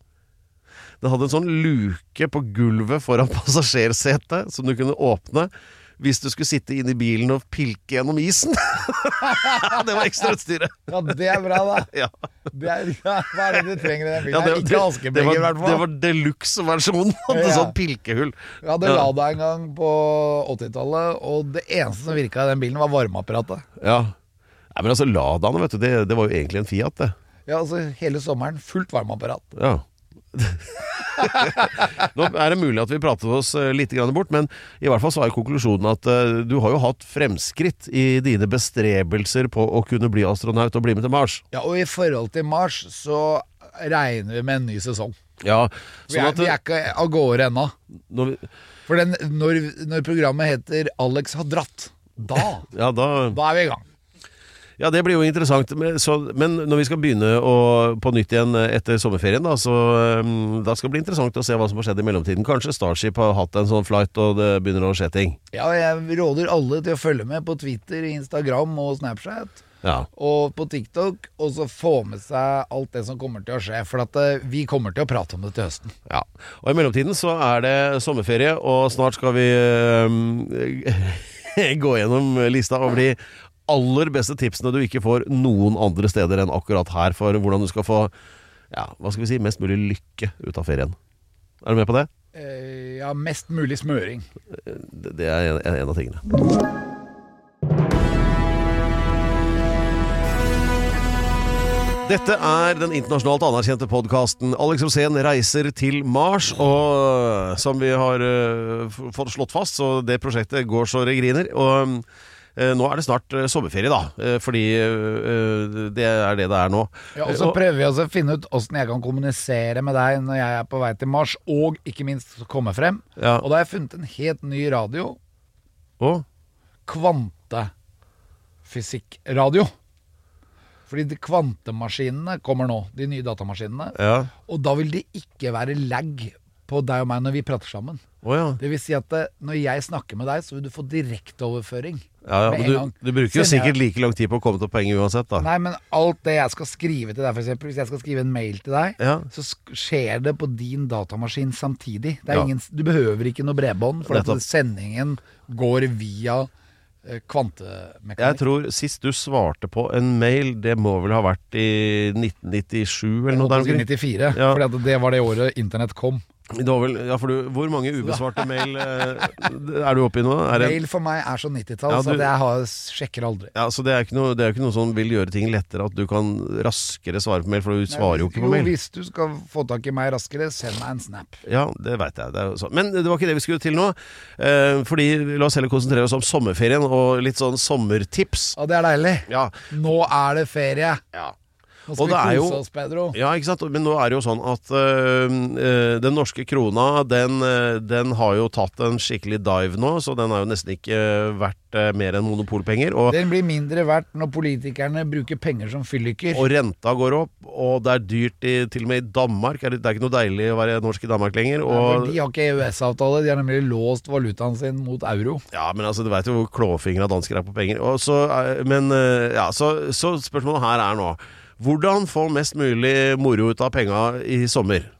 Speaker 2: Den hadde en sånn luke på gulvet foran passasjersetet som du kunne åpne hvis du skulle sitte inne i bilen og pilke gjennom isen. det var ekstrautstyret.
Speaker 3: Ja, det er bra, da.
Speaker 2: Ja.
Speaker 3: Det er, ja, hva er det du trenger i den bilen?
Speaker 2: Ja,
Speaker 3: her? ikke askebeger, i
Speaker 2: det var,
Speaker 3: hvert
Speaker 2: det
Speaker 3: fall.
Speaker 2: var deluxe-versjonen. Hadde
Speaker 3: Ja.
Speaker 2: sånn pilkehull.
Speaker 3: Jeg hadde
Speaker 2: ja.
Speaker 3: Lada en gang på 80-tallet, og det eneste som virka i den bilen, var varmeapparatet.
Speaker 2: Ja. Nei, men altså, Ladaene, vet du, det, det var jo egentlig en Fiat, det.
Speaker 3: Ja, altså Hele sommeren fullt varmeapparat.
Speaker 2: Ja. Nå er det mulig at vi pratet oss eh, litt grann bort, men i hvert fall så er jo konklusjonen at eh, du har jo hatt fremskritt i dine bestrebelser på å kunne bli astronaut og bli med til Mars.
Speaker 3: Ja, Og i forhold til Mars så regner vi med en ny sesong.
Speaker 2: Ja,
Speaker 3: Vi
Speaker 2: sånn
Speaker 3: er,
Speaker 2: at eh,
Speaker 3: vi er ikke av gårde ennå.
Speaker 2: når vi,
Speaker 3: For den, når, når programmet heter 'Alex har dratt', da,
Speaker 2: ja, da,
Speaker 3: da er vi i gang.
Speaker 2: ja, det blir jo interessant. Men, så, men når vi skal begynne å, på nytt igjen eh, etter sommerferien, da, så eh, da skal det bli interessant å se hva som har skjedd i mellomtiden. Kanskje Starship har hatt en sånn flight, og det begynner å skje ting.
Speaker 3: Ja, Jeg råder alle til å følge med på Twitter, Instagram og Snapchat.
Speaker 2: Ja.
Speaker 3: og på TikTok, og så få med seg alt det som kommer til å skje. For at eh, vi kommer til å prate om det til høsten.
Speaker 2: Ja, og i mellomtiden så er det sommerferie, og snart skal vi øhm, gå gjennom lista over de aller beste tipsene du ikke får noen andre steder enn akkurat her, for hvordan du skal få ja, hva skal vi si, mest mulig lykke ut av ferien. Er du med på det?
Speaker 3: Eh, Ja, mest mulig smøring.
Speaker 2: Det- Det er en, en av tingene. Dette er den internasjonalt anerkjente podkasten Alex Rosén reiser til Mars. Og som vi har eh, f- fått slått fast, så det prosjektet går så det griner. Og eh, nå er det snart eh, sommerferie, da. eh, fordi eh, det er det det er nå.
Speaker 3: Ja, og så
Speaker 2: Og-
Speaker 3: prøver vi også å finne ut åssen jeg kan kommunisere med deg når jeg er på vei til Mars, og ikke minst komme frem.
Speaker 2: Ja.
Speaker 3: Og da har jeg funnet en helt ny radio.
Speaker 2: og-
Speaker 3: Kvantefysikkradio. Fordi de kvantemaskinene kommer nå, de nye datamaskinene.
Speaker 2: ja.
Speaker 3: Og da vil det ikke være lag på deg og meg når vi prater sammen.
Speaker 2: Å ja.
Speaker 3: Det vil si at eh, når jeg snakker med deg, så vil du få direkteoverføring.
Speaker 2: ja, ja.
Speaker 3: Med
Speaker 2: men
Speaker 3: en gang.
Speaker 2: Du, du bruker jo
Speaker 3: Sender jeg-
Speaker 2: sikkert like lang tid på å komme til poenget uansett, da.
Speaker 3: Nei, men alt det jeg skal skrive til deg, for eksempel, hvis jeg skal skrive en mail til deg,
Speaker 2: Ja.
Speaker 3: så sk- skjer det på din datamaskin samtidig. Det er
Speaker 2: Ja.
Speaker 3: ingen, du behøver ikke noe bredbånd, for at
Speaker 2: Nettopp.
Speaker 3: sendingen går via eh,
Speaker 2: Jeg
Speaker 3: kvantemekanikk.
Speaker 2: tror sist du svarte på en mail, det må vel ha vært i 1997 eller noe der omkring?
Speaker 3: 1994,
Speaker 2: Ja.
Speaker 3: for det var det året internett kom.
Speaker 2: Det var vel, ja, for du, hvor mange ubesvarte mail eh, er du oppe i nå? Er det,
Speaker 3: Mail for meg er så 90-tall,
Speaker 2: Ja,
Speaker 3: så
Speaker 2: du-
Speaker 3: at jeg har, sjekker aldri.
Speaker 2: ja, så det er jo ikke, noe- det er jo ikke noe som vil gjøre ting lettere, at du kan raskere svare på mail, for du svarer jo ikke på mail.
Speaker 3: hvis du skal få tak i meg raskere, send meg en snap.
Speaker 2: Ja, det veit jeg. Det er jo sånn. Men det var ikke det vi skulle til nå. Eh, fordi la oss heller konsentrere oss om sommerferien og litt sånn sommertips.
Speaker 3: Og det er deilig.
Speaker 2: Ja,
Speaker 3: Nå er det ferie. Nå
Speaker 2: Og
Speaker 3: skal vi
Speaker 2: det er
Speaker 3: kose
Speaker 2: jo-
Speaker 3: oss, Pedro.
Speaker 2: Ja, ikke sant? Men nå er det jo sånn at øh, øh, den norske krona, den, øh, den har jo tatt en skikkelig dive nå, så den har jo nesten ikke øh, vært øh, mer enn monopolpenger. Og,
Speaker 3: Den blir mindre verdt når politikerne bruker penger som fylliker.
Speaker 2: og renta går opp, og det er dyrt i, til og med i Danmark. Er det, det er ikke noe deilig å være norsk i Danmark lenger.
Speaker 3: Nei, for
Speaker 2: Og,
Speaker 3: de har ikke EØS-avtale, de har nemlig låst valutaen sin mot euro.
Speaker 2: ja, men altså, du veit jo hvor klåfingra dansker er på penger. Og så, øh, men øh, ja, så, så spørsmålet her er nå Hvordan få mest mulig moro ut av penga i sommer?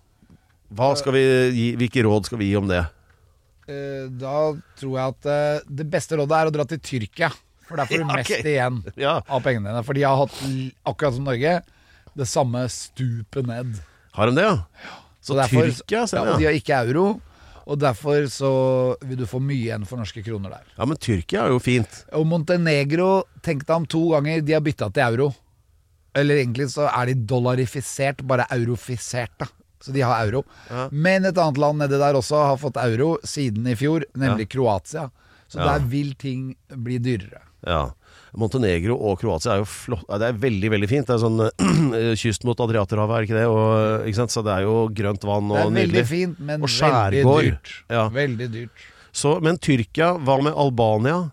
Speaker 2: Hva skal vi gi, hvilke råd skal vi gi om det?
Speaker 3: Eh, Da tror jeg at eh, det beste rådet er å dra til Tyrkia, for der får du
Speaker 2: Ja, ok.
Speaker 3: mest igjen
Speaker 2: Ja.
Speaker 3: av pengene dine. For de har hatt, l- akkurat som Norge, det samme stupet ned.
Speaker 2: Har de det, ja? Så
Speaker 3: Og derfor-
Speaker 2: Tyrkia,
Speaker 3: ja,
Speaker 2: ser
Speaker 3: og
Speaker 2: jeg.
Speaker 3: de
Speaker 2: Ja,
Speaker 3: har ikke euro, og derfor så vil du få mye igjen for norske kroner der.
Speaker 2: men Tyrkia er jo fint.
Speaker 3: Og Montenegro, tenk deg om to ganger, de har bytta til euro. Eller egentlig så er de dollarifisert, bare eurofisert, da. Så de har euro. Men et annet land nedi der også har fått euro siden i fjor, nemlig Kroatia. Så
Speaker 2: Ja.
Speaker 3: der vil ting bli dyrere.
Speaker 2: Ja. Montenegro og Kroatia er jo flott ja, Det er veldig, veldig fint. Det er sånn eh, kyst mot Adriaterhavet, er det ikke det? Og, eh, ikke sant? Så det er jo grønt vann
Speaker 3: Det
Speaker 2: og
Speaker 3: er veldig
Speaker 2: nydelig.
Speaker 3: fint, men
Speaker 2: Og
Speaker 3: veldig
Speaker 2: skjærgård.
Speaker 3: dyrt.
Speaker 2: Ja.
Speaker 3: Veldig dyrt.
Speaker 2: Så, men Tyrkia, hva med Albania?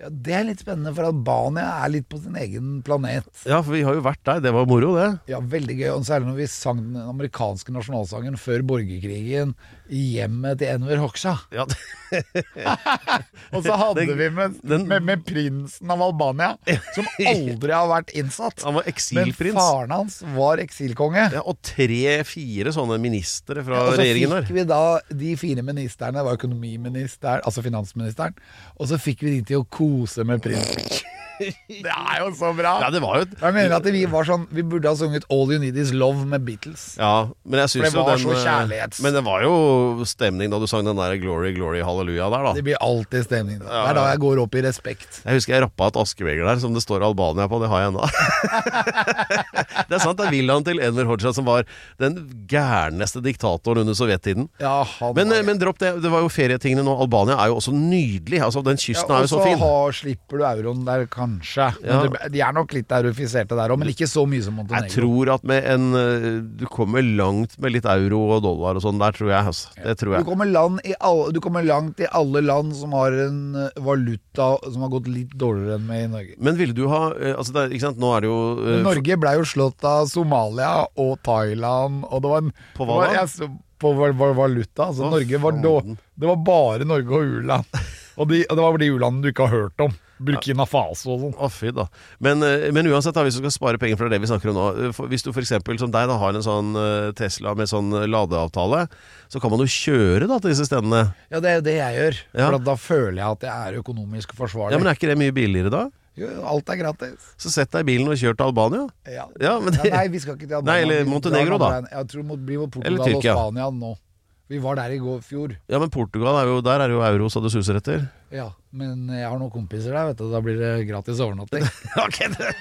Speaker 3: Ja, det er litt spennende, for Albania er litt på sin egen planet.
Speaker 2: Ja, for vi har jo vært der. Det var moro, det.
Speaker 3: Ja, veldig gøy. Og særlig når vi sang den amerikanske nasjonalsangen før borgerkrigen i hjemmet til Enver Hoxha.
Speaker 2: Ja,
Speaker 3: Og så hadde
Speaker 2: Den-
Speaker 3: vi med,
Speaker 2: den-
Speaker 3: med, med prinsen av Albania, som aldri har vært innsatt.
Speaker 2: Han var eksilprins.
Speaker 3: Men faren hans var eksilkonge.
Speaker 2: ja, og tre-fire sånne ministre fra
Speaker 3: og så
Speaker 2: regjeringen
Speaker 3: fikk
Speaker 2: der.
Speaker 3: vi da de fire ministerne, det var økonomiministeren, altså finansministeren, og så fikk vi de til å kose med prinsen. Det er jo så bra!
Speaker 2: Ja, det var jo et
Speaker 3: Jeg mener at vi var sånn Vi burde ha sunget All You Need Is Love med Beatles.
Speaker 2: Ja, men jeg
Speaker 3: det
Speaker 2: syns jo
Speaker 3: var
Speaker 2: den
Speaker 3: så
Speaker 2: eh,
Speaker 3: kjærlighets-
Speaker 2: Men det var jo stemning da du sang den der Glory, glory, halleluja der, da.
Speaker 3: Det blir alltid stemning. da. Det er da jeg går opp i respekt.
Speaker 2: Jeg husker jeg rappa et askebeger der som det står Albania på. Det har jeg ennå. det er sant, det er villaen til Enver Hoxha som var den gærneste diktatoren under sovjettiden.
Speaker 3: Ja, han
Speaker 2: Men,
Speaker 3: var-
Speaker 2: eh, men dropp det. Det var jo ferietingene nå. Albania er jo også nydelig. Altså, den
Speaker 3: Ja,
Speaker 2: kysten er
Speaker 3: og
Speaker 2: jo
Speaker 3: så
Speaker 2: så fin.
Speaker 3: har- slipper du euroen der, kanskje.
Speaker 2: Ja.
Speaker 3: Men det- de er nok litt eurofiserte der òg, men ikke så mye som Montenegro.
Speaker 2: Jeg tror at med en eh, Du kommer langt med litt euro og dollar og sånn der, tror jeg. Altså. Det tror
Speaker 3: du,
Speaker 2: jeg.
Speaker 3: kommer land i alle, du kommer langt i alle land som har en eh, valuta som har gått litt dårligere enn med i Norge.
Speaker 2: Men ville du ha eh, Altså, det er, ikke sant, nå er det jo eh,
Speaker 3: Men Norge ble jo slått av Somalia og Thailand, og det var en
Speaker 2: På hva
Speaker 3: det var-
Speaker 2: da?
Speaker 3: jeg så- på val- val- valuta. Altså,
Speaker 2: Å,
Speaker 3: Norge var da,
Speaker 2: faen.
Speaker 3: det var bare Norge og u-land. Og, de, og det var de u-landene du ikke har hørt om. Burkina Faso og sånn.
Speaker 2: Å, fy da. Men, eh, men uansett, da, hvis du skal spare penger, for det er det vi snakker om nå eh, for- Hvis du f.eks. som deg da har en sånn eh, Tesla med sånn eh, ladeavtale, så kan man jo kjøre da til disse stedene.
Speaker 3: Ja, det er jo det jeg gjør.
Speaker 2: Ja.
Speaker 3: For at da føler jeg at jeg er økonomisk
Speaker 2: Ja,
Speaker 3: forsvarlig.
Speaker 2: Men er ikke det mye billigere da?
Speaker 3: jo, alt er gratis.
Speaker 2: Så sett deg i bilen og kjør til Albania.
Speaker 3: Ja.
Speaker 2: Ja, men det-
Speaker 3: Ja, nei, vi skal ikke til Albania.
Speaker 2: Nei, eller
Speaker 3: Vi drar
Speaker 2: Montenegro,
Speaker 3: den andre
Speaker 2: da.
Speaker 3: veien. Jeg tror det blir mot
Speaker 2: Eller
Speaker 3: Portugal og
Speaker 2: Tyrkia.
Speaker 3: Spania nå. Vi var der i går fjor.
Speaker 2: Ja, men Portugal er jo Der er jo euro så det suser etter.
Speaker 3: Ja, men jeg har noen kompiser der, vet du. Da blir det gratis overnatting.
Speaker 2: ok, det-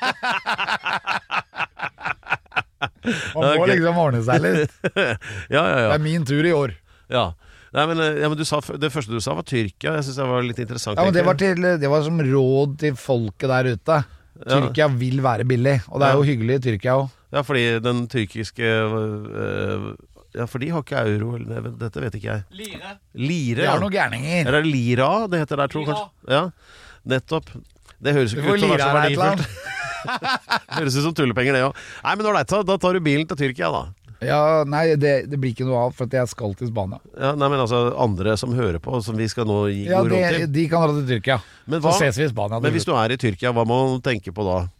Speaker 3: Man må
Speaker 2: Ok.
Speaker 3: liksom ordne seg litt.
Speaker 2: ja, ja,
Speaker 3: Det
Speaker 2: ja.
Speaker 3: er min tur i år.
Speaker 2: ja. Nei, men, eh, ja, men du sa, f- Det første du sa, var Tyrkia. Jeg syns det var litt interessant.
Speaker 3: Ja, men det
Speaker 2: egentlig.
Speaker 3: var, til, det var som råd til folket der ute.
Speaker 2: Ja.
Speaker 3: Tyrkia vil være billig, og det er jo hyggelig i Tyrkia òg.
Speaker 2: Ja, fordi den tyrkiske øh, Ja, for de har ikke euro eller det- Dette vet ikke jeg. Lire. Lire,
Speaker 3: De
Speaker 2: ja.
Speaker 3: har noen gærninger.
Speaker 2: Eller er det lira det heter der, tror jeg kanskje? Ja, nettopp. Det høres jo
Speaker 3: Du
Speaker 2: ikke
Speaker 3: får
Speaker 2: ut som det er
Speaker 3: lira
Speaker 2: så
Speaker 3: deg et eller
Speaker 2: verdifullt.
Speaker 3: annet.
Speaker 2: Høres ut som tullepenger, det òg. Nei, men ålreit, da tar du bilen til Tyrkia, da.
Speaker 3: Ja, nei, det, det blir ikke noe av, for at jeg skal til Spania.
Speaker 2: Ja, nei, men altså Andre som hører på, som vi skal nå gi
Speaker 3: Ja,
Speaker 2: god råd
Speaker 3: det,
Speaker 2: til.
Speaker 3: De kan dra til Tyrkia.
Speaker 2: Men
Speaker 3: Så
Speaker 2: hva-
Speaker 3: ses vi i Spania.
Speaker 2: Men hvis du er i Tyrkia, hva må man tenke på da?
Speaker 3: Nei,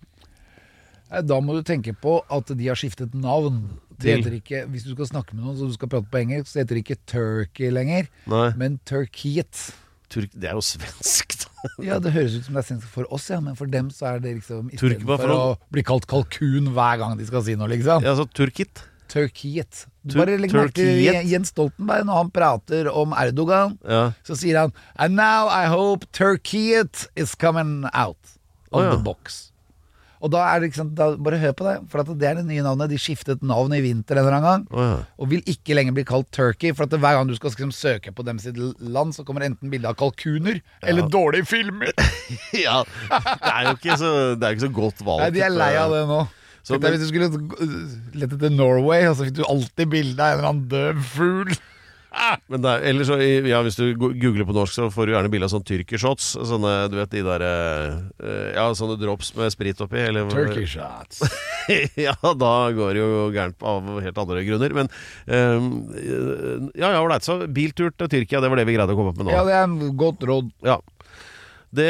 Speaker 3: Eh, Da må du tenke på at de har skiftet navn. Det
Speaker 2: Til?
Speaker 3: heter ikke, hvis du skal snakke med noen og du skal prate på engelsk, så heter det ikke Turkey lenger,
Speaker 2: Nei,
Speaker 3: men Turkiet.
Speaker 2: Turk, Det er jo svensk, da.
Speaker 3: Ja, Det høres ut som det er svensk for oss, ja, men for dem så er det liksom
Speaker 2: Turk- hva for
Speaker 3: Istedenfor å bli kalt kalkun hver gang de skal si noe, liksom.
Speaker 2: Ja, altså Turkit.
Speaker 3: Turkiet.
Speaker 2: Tu-
Speaker 3: Bare legg merke til
Speaker 2: Turkiet?
Speaker 3: Jens Stoltenberg når han prater om Erdogan.
Speaker 2: Ja.
Speaker 3: Så sier han And now I hope Turkiet is coming out of
Speaker 2: Å, ja.
Speaker 3: the box. Og da er det ikke sant, da, Bare hør på det, for at det er det nye navnet. De skiftet navn i vinter en eller annen gang.
Speaker 2: Å, ja.
Speaker 3: Og vil ikke lenger bli kalt Turkey. For at hver gang du skal liksom, søke på dem sitt land, så kommer enten bilde av kalkuner eller dårlige filmer.
Speaker 2: ja, det er jo ikke så, det er jo ikke så godt valg.
Speaker 3: Nei, De er lei av det nå.
Speaker 2: Så,
Speaker 3: Tenk deg
Speaker 2: men-
Speaker 3: hvis du skulle gå- lette etter Norway, og så fikk du alltid bilde av en eller annen døv fugl.
Speaker 2: Men det er, eller så, i- ja, hvis du go- googler på norsk, så får du gjerne bilde av sånne tyrkershots. Sånne, du vet, de der eh, Ja, sånne drops med sprit oppi. Eller,
Speaker 3: Turkey shots.
Speaker 2: ja, da går det jo gærent av helt andre grunner. Men eh, Ja, ja, ålreit. Så biltur til Tyrkia, det var det vi greide å komme opp med nå.
Speaker 3: Ja, det er et godt råd.
Speaker 2: Ja. Det,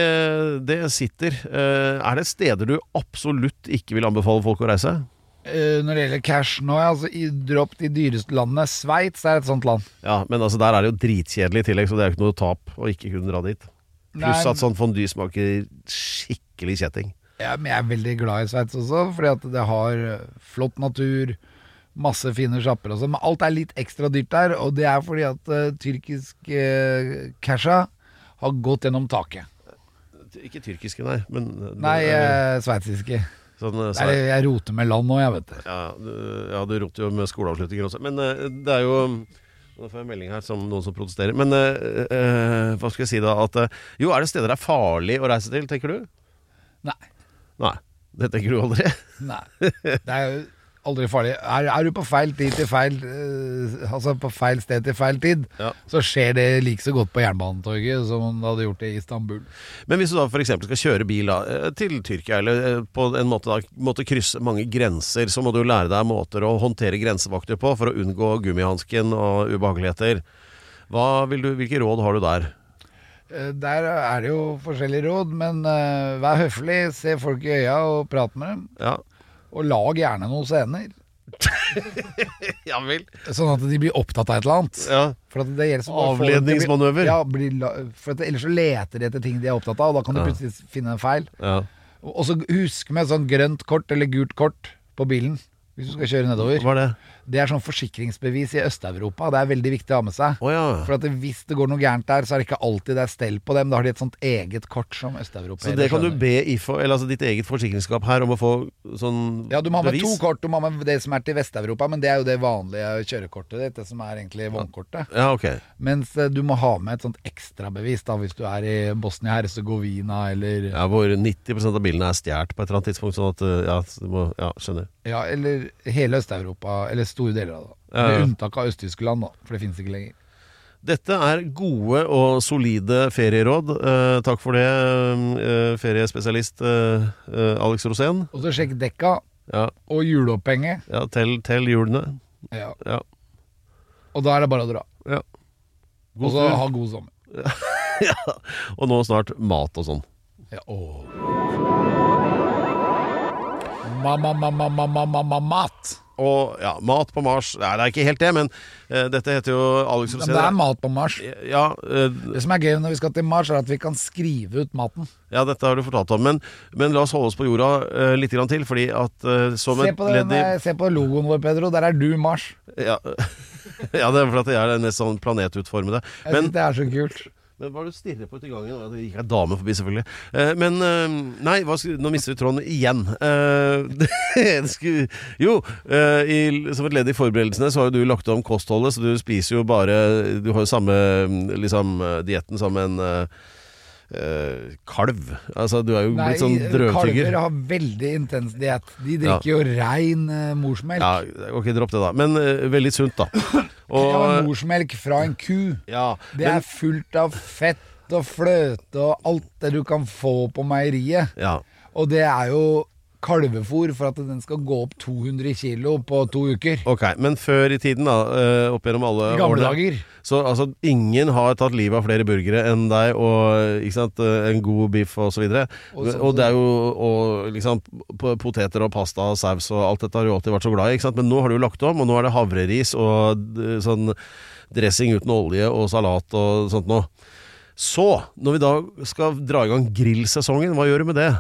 Speaker 2: det sitter. Eh, Er det steder du absolutt ikke vil anbefale folk å reise?
Speaker 3: Eh, når det gjelder cash nå, ja, altså, i- dropp de dyreste landene. Sveits er et sånt land.
Speaker 2: Ja, men altså der er det jo dritkjedelig i tillegg, så det er jo ikke noe tap å ikke kunne dra dit. Pluss
Speaker 3: Nei.
Speaker 2: at sånn fondue smaker skikkelig kjetting.
Speaker 3: Ja, men jeg er veldig glad i Sveits også, fordi at det har eh, flott natur, masse fine sjapper og sånn. Men alt er litt ekstra dyrt der, og det er fordi at eh, tyrkisk uh, casha har gått gjennom taket.
Speaker 2: Ikke tyrkiske, nei, men
Speaker 3: Nei,
Speaker 2: eller
Speaker 3: eh, sveitsiske.
Speaker 2: sånn,
Speaker 3: Det
Speaker 2: så,
Speaker 3: er- Jeg roter med land nå, jeg, vet det.
Speaker 2: ja, du- ja, du roter jo med skoleavslutninger også. Men eh, det er jo Nå får jeg en melding her som noen som protesterer. Men eh, eh, hva skal jeg si da? At, eh, jo, er det steder det er farlig å reise til, tenker du?
Speaker 3: Nei.
Speaker 2: Nei. Det tenker du aldri?
Speaker 3: Nei. Det er jo aldri farlig. Er, er du på feil tid til feil eh, Altså på feil sted til feil tid,
Speaker 2: Ja.
Speaker 3: så skjer det like så godt på Jernbanetorget som om det hadde gjort det i Istanbul.
Speaker 2: Men hvis du da f.eks. skal kjøre bil da, eh, til Tyrkia, eller eh, på en måte da, måtte krysse mange grenser, så må du lære deg måter å håndtere grensevakter på for å unngå gummihansken og ubehageligheter. Hva vil du, hvilke råd har du der?
Speaker 3: Eh, Der er det jo forskjellige råd, men eh, vær høflig, se folk i øya og prat med dem.
Speaker 2: Ja,
Speaker 3: Og lag gjerne noen scener,
Speaker 2: ja vel.
Speaker 3: sånn at de blir opptatt av et eller annet.
Speaker 2: Ja.
Speaker 3: For at det gjelder så bare å få dem til å bli-
Speaker 2: Avledningsmanøver.
Speaker 3: Ja, bli la- for at ellers så leter de etter ting de er opptatt av, og da kan du plutselig finne en feil.
Speaker 2: Ja.
Speaker 3: Og og så husk med sånn grønt kort eller gult kort på bilen hvis du skal kjøre nedover.
Speaker 2: Hva er det?
Speaker 3: Det er sånn forsikringsbevis i Øst-Europa. Det er veldig viktig å ha med seg.
Speaker 2: Å ja.
Speaker 3: For at det- hvis det går noe gærent der, så er det ikke alltid det er stell på dem. Da har de et sånt eget kort som
Speaker 2: Så
Speaker 3: østeuropeere
Speaker 2: det kan du
Speaker 3: skjønner.
Speaker 2: be IFO, eller altså ditt eget forsikringsskap her, om å få sånn
Speaker 3: ja, du må ha med
Speaker 2: bevis?
Speaker 3: to kort. Du må ha med det som er til Vest-Europa, men det er jo det vanlige kjørekortet ditt. Det som er egentlig vognkortet.
Speaker 2: Ja, ok.
Speaker 3: Mens eh, du må ha med et sånt ekstrabevis da, hvis du er i Bosnia-Hercegovina eller
Speaker 2: Ja, Hvor 90 av bilene er stjålet på et eller annet tidspunkt. Sånn at eh, Ja, så du må, ja skjønner.
Speaker 3: Ja, eller hele Øst-Europa, eller store deler av det.
Speaker 2: Ja, ja.
Speaker 3: Med unntak av Øst-Tyskland, da, for det finnes ikke lenger.
Speaker 2: Dette er gode og solide ferieråd. Eh, takk for det, eh, feriespesialist eh, eh, Alex Rosén.
Speaker 3: Og så sjekk dekka
Speaker 2: Ja,
Speaker 3: og hjulopphenget,
Speaker 2: ja tell, tell hjulene.
Speaker 3: ja.
Speaker 2: Ja.
Speaker 3: og da er det bare å dra.
Speaker 2: ja.
Speaker 3: Og så ha god sommer.
Speaker 2: Og nå snart mat og sånn.
Speaker 3: Ja, åh. Mamma, mamma, mamma, mamma, mat.
Speaker 2: Og ja, mat på Mars Nei, det er ikke helt det, men eh, dette heter jo Alex
Speaker 3: Men
Speaker 2: Rosén.
Speaker 3: det er mat på Mars.
Speaker 2: Ja, eh,
Speaker 3: Det som er gøy når vi skal til Mars, er at vi kan skrive ut maten.
Speaker 2: ja, dette har du fortalt om, men, men la oss holde oss på jorda eh, litt grann til, fordi at eh, som
Speaker 3: Se
Speaker 2: et
Speaker 3: på, den,
Speaker 2: ledd i
Speaker 3: eh, se på logoen vår, Pedro. Der er du Mars.
Speaker 2: ja, ja, det er fordi at jeg er den mest sånn planetutformede.
Speaker 3: Jeg synes det er så kult.
Speaker 2: Men hva er det du stirrer på ute i gangen? Det gikk ei dame forbi, selvfølgelig. Eh, men eh, Nei, hva, skulle- nå mister vi tråden igjen. Eh, det skulle, jo, eh, i, som et ledd i forberedelsene så har jo du lagt om kostholdet, så du spiser jo bare Du har jo samme liksom, eh, dietten som en eh, eh, kalv. Altså, du er jo
Speaker 3: Nei,
Speaker 2: blitt sånn
Speaker 3: kalver
Speaker 2: drøvtygger.
Speaker 3: har veldig intens diett. De drikker jo rein eh, morsmelk.
Speaker 2: Ja, ok, dropp det, da. Men eh, veldig sunt, da.
Speaker 3: Ja, men
Speaker 2: Og
Speaker 3: morsmelk fra en ku.
Speaker 2: ja,
Speaker 3: Det
Speaker 2: men-
Speaker 3: er fullt av fett og fløte og alt det du kan få på meieriet.
Speaker 2: ja.
Speaker 3: Og det er jo kalvefôr for at den skal gå opp 200 kilo på to uker.
Speaker 2: Ok, men før i tiden da, eh, opp gjennom alle
Speaker 3: I gamle
Speaker 2: årene,
Speaker 3: dager.
Speaker 2: Så altså, ingen har tatt livet av flere burgere enn deg og ikke sant, eh, en god biff og så videre.
Speaker 3: Og
Speaker 2: Og,
Speaker 3: så-
Speaker 2: det er jo og, liksom, p- poteter og pasta og saus og alt dette har du alltid vært så glad i, ikke sant? men nå har du jo lagt om, og nå er det havreris og d- sånn dressing uten olje og salat og sånt noe. Så, når vi da skal dra i gang grillsesongen, hva gjør du med det?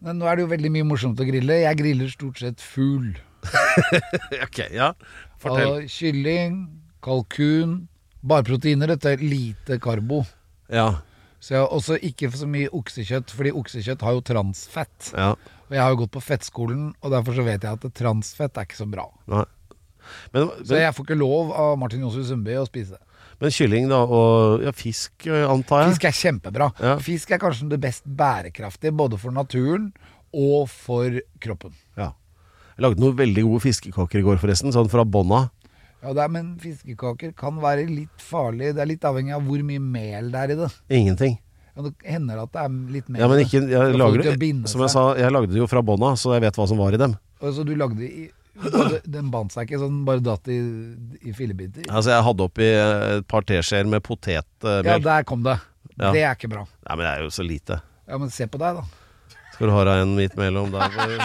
Speaker 3: Men nå er det jo veldig mye morsomt å grille. Jeg griller stort sett fugl.
Speaker 2: ok, ja. Fortell.
Speaker 3: Altså, kylling, kalkun, bare proteiner. Dette er lite karbo.
Speaker 2: Ja,
Speaker 3: Så jeg har også ikke så mye oksekjøtt, fordi oksekjøtt har jo transfett.
Speaker 2: ja.
Speaker 3: Og jeg har jo gått på fettskolen, og derfor så vet jeg at transfett er ikke så bra.
Speaker 2: Nei. Men,
Speaker 3: Så
Speaker 2: men,
Speaker 3: jeg får ikke lov av Martin Johnsrud Sundby å spise det.
Speaker 2: men kylling, da, og ja, fisk, eh, antar jeg?
Speaker 3: Fisk er kjempebra.
Speaker 2: Ja.
Speaker 3: Fisk er kanskje det best bærekraftige, både for naturen og for kroppen.
Speaker 2: Ja. Jeg lagde noen veldig gode fiskekaker i går, forresten. Sånn fra bånna.
Speaker 3: Ja, det er, Men fiskekaker kan være litt farlig. Det er litt avhengig av hvor mye mel det er i det.
Speaker 2: Ingenting.
Speaker 3: Ja, det hender at det er litt mer
Speaker 2: Ja, men ikke,
Speaker 3: For
Speaker 2: jeg
Speaker 3: folk
Speaker 2: lager,
Speaker 3: til å binde
Speaker 2: som jeg
Speaker 3: seg.
Speaker 2: sa, jeg lagde det jo fra bånna, så jeg vet hva som var i dem.
Speaker 3: Og så du lagde i både, Den bandt seg ikke, så den bare datt i, i fillebiter. Ja,
Speaker 2: Altså, jeg hadde oppi eh, et par teskjeer med potetmel.
Speaker 3: der kom det.
Speaker 2: Ja.
Speaker 3: Det er ikke bra.
Speaker 2: Nei, men det er jo så lite.
Speaker 3: Ja, Men se på deg, da.
Speaker 2: Skal du ha deg en midt mellom der hvor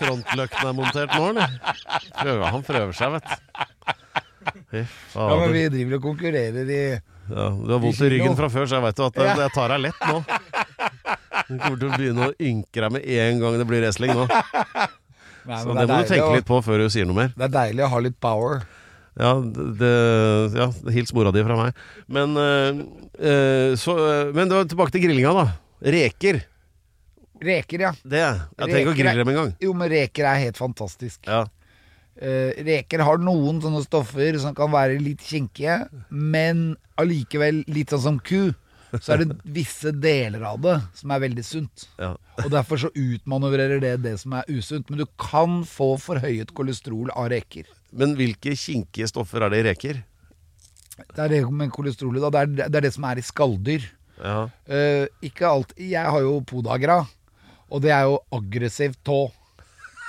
Speaker 2: frontløkten er montert nå, eller? Prøver, han prøver seg, vet du. Fy
Speaker 3: Ja, men
Speaker 2: fader.
Speaker 3: Vi driver og konkurrerer i
Speaker 2: Ja, du har vondt i ryggen fra før, så jeg veit jo at jeg, jeg tar deg lett nå. Du kommer til å begynne å ynke deg med en gang det blir wrestling nå.
Speaker 3: Nei,
Speaker 2: Så
Speaker 3: men
Speaker 2: det må du
Speaker 3: deilig
Speaker 2: tenke
Speaker 3: å-
Speaker 2: litt på før du sier noe mer.
Speaker 3: Det er deilig å ha litt power.
Speaker 2: Ja, det, ja hils mora di fra meg. Men, eh, eh, så, eh, men da, tilbake til grillinga, da. Reker.
Speaker 3: Reker, ja.
Speaker 2: Det. Jeg trenger ikke å
Speaker 3: Reker er-
Speaker 2: grille dem engang.
Speaker 3: Jo, men reker er helt fantastisk.
Speaker 2: Ja.
Speaker 3: Eh, reker har noen sånne stoffer som kan være litt kinkige, men allikevel litt sånn som ku. Så er det visse deler av det som er veldig sunt.
Speaker 2: Ja.
Speaker 3: Og derfor så utmanøvrerer det det som er usunt. Men du kan få forhøyet kolesterol av reker.
Speaker 2: Men hvilke kinkige stoffer er det i reker?
Speaker 3: Det er det med kolesterolet, da. Det er det, er det som er i skalldyr.
Speaker 2: Ja.
Speaker 3: Eh, ikke alt. Jeg har jo podagra, og det er jo aggressiv tå.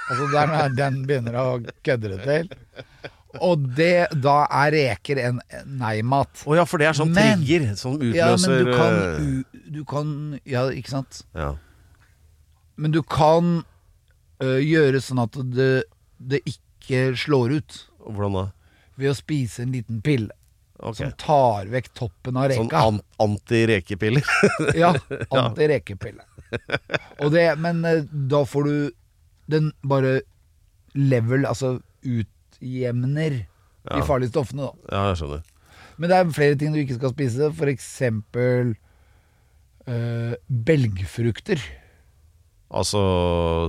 Speaker 3: Altså det er når den begynner å kødde det til. Og det, da er reker en nei-mat.
Speaker 2: Å ja, for det er sånn
Speaker 3: Men-
Speaker 2: trigger som utløser
Speaker 3: Ja, men du kan,
Speaker 2: eh,
Speaker 3: u- du kan Ja, ikke sant?
Speaker 2: ja.
Speaker 3: Men du kan eh, gjøre sånn at det, det ikke slår ut
Speaker 2: Og Hvordan da?
Speaker 3: ved å spise en liten pille.
Speaker 2: Ok.
Speaker 3: Som tar vekk toppen av
Speaker 2: Sånn
Speaker 3: reka.
Speaker 2: an anti-rekepiller?
Speaker 3: Ja, anti-rekepille. Og det, men eh, da får du den bare level, altså utjevner de farlige stoffene, da.
Speaker 2: ja, jeg skjønner.
Speaker 3: Men det er flere ting du ikke skal spise, for eksempel eh, belgfrukter.
Speaker 2: Altså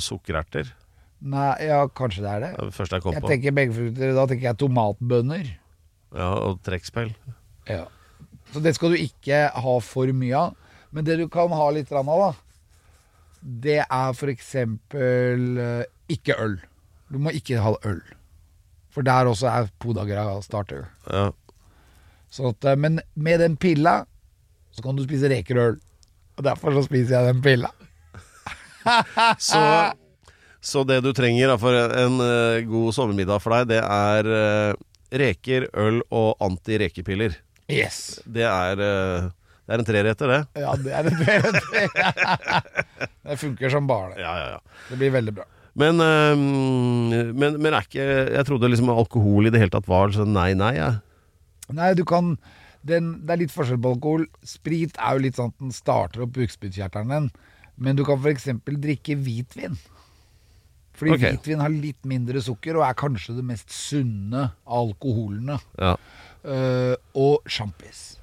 Speaker 2: sukkererter.
Speaker 3: Nei, ja, kanskje det er
Speaker 2: Det
Speaker 3: det.
Speaker 2: er det første jeg kom
Speaker 3: Jeg
Speaker 2: på.
Speaker 3: tenker belgfrukter, da tenker jeg tomatbønner.
Speaker 2: Ja, Og trekkspill.
Speaker 3: Ja. Så det skal du ikke ha for mye av. Men det du kan ha litt grann av, da, det er for eksempel eh, ikke øl. Du må ikke ha øl. For der også er podagra starter.
Speaker 2: Ja.
Speaker 3: Sånn at, eh, men med den pilla så kan du spise reker og øl. Og derfor så spiser jeg den pilla.
Speaker 2: Så, så det du trenger da, for en eh, god sommermiddag for deg, det er eh, reker, øl og anti-rekepiller.
Speaker 3: Yes.
Speaker 2: Det er, eh, det er en treretter, det.
Speaker 3: Ja, det er det. Det, det funker som bare det.
Speaker 2: Ja, ja, ja.
Speaker 3: Det blir veldig bra.
Speaker 2: Men, eh, men, men er ikke Jeg trodde liksom alkohol i det hele tatt var sånn nei, nei. Ja.
Speaker 3: Nei, du kan den, Det er litt forskjell på alkohol. Sprit er jo litt sånn at den starter opp bukspyttkjertelen din. Men du kan f.eks. drikke hvitvin. Fordi
Speaker 2: Ok.
Speaker 3: hvitvin har litt mindre sukker og er kanskje det mest sunne av alkoholene.
Speaker 2: ja.
Speaker 3: Eh, og sjampis.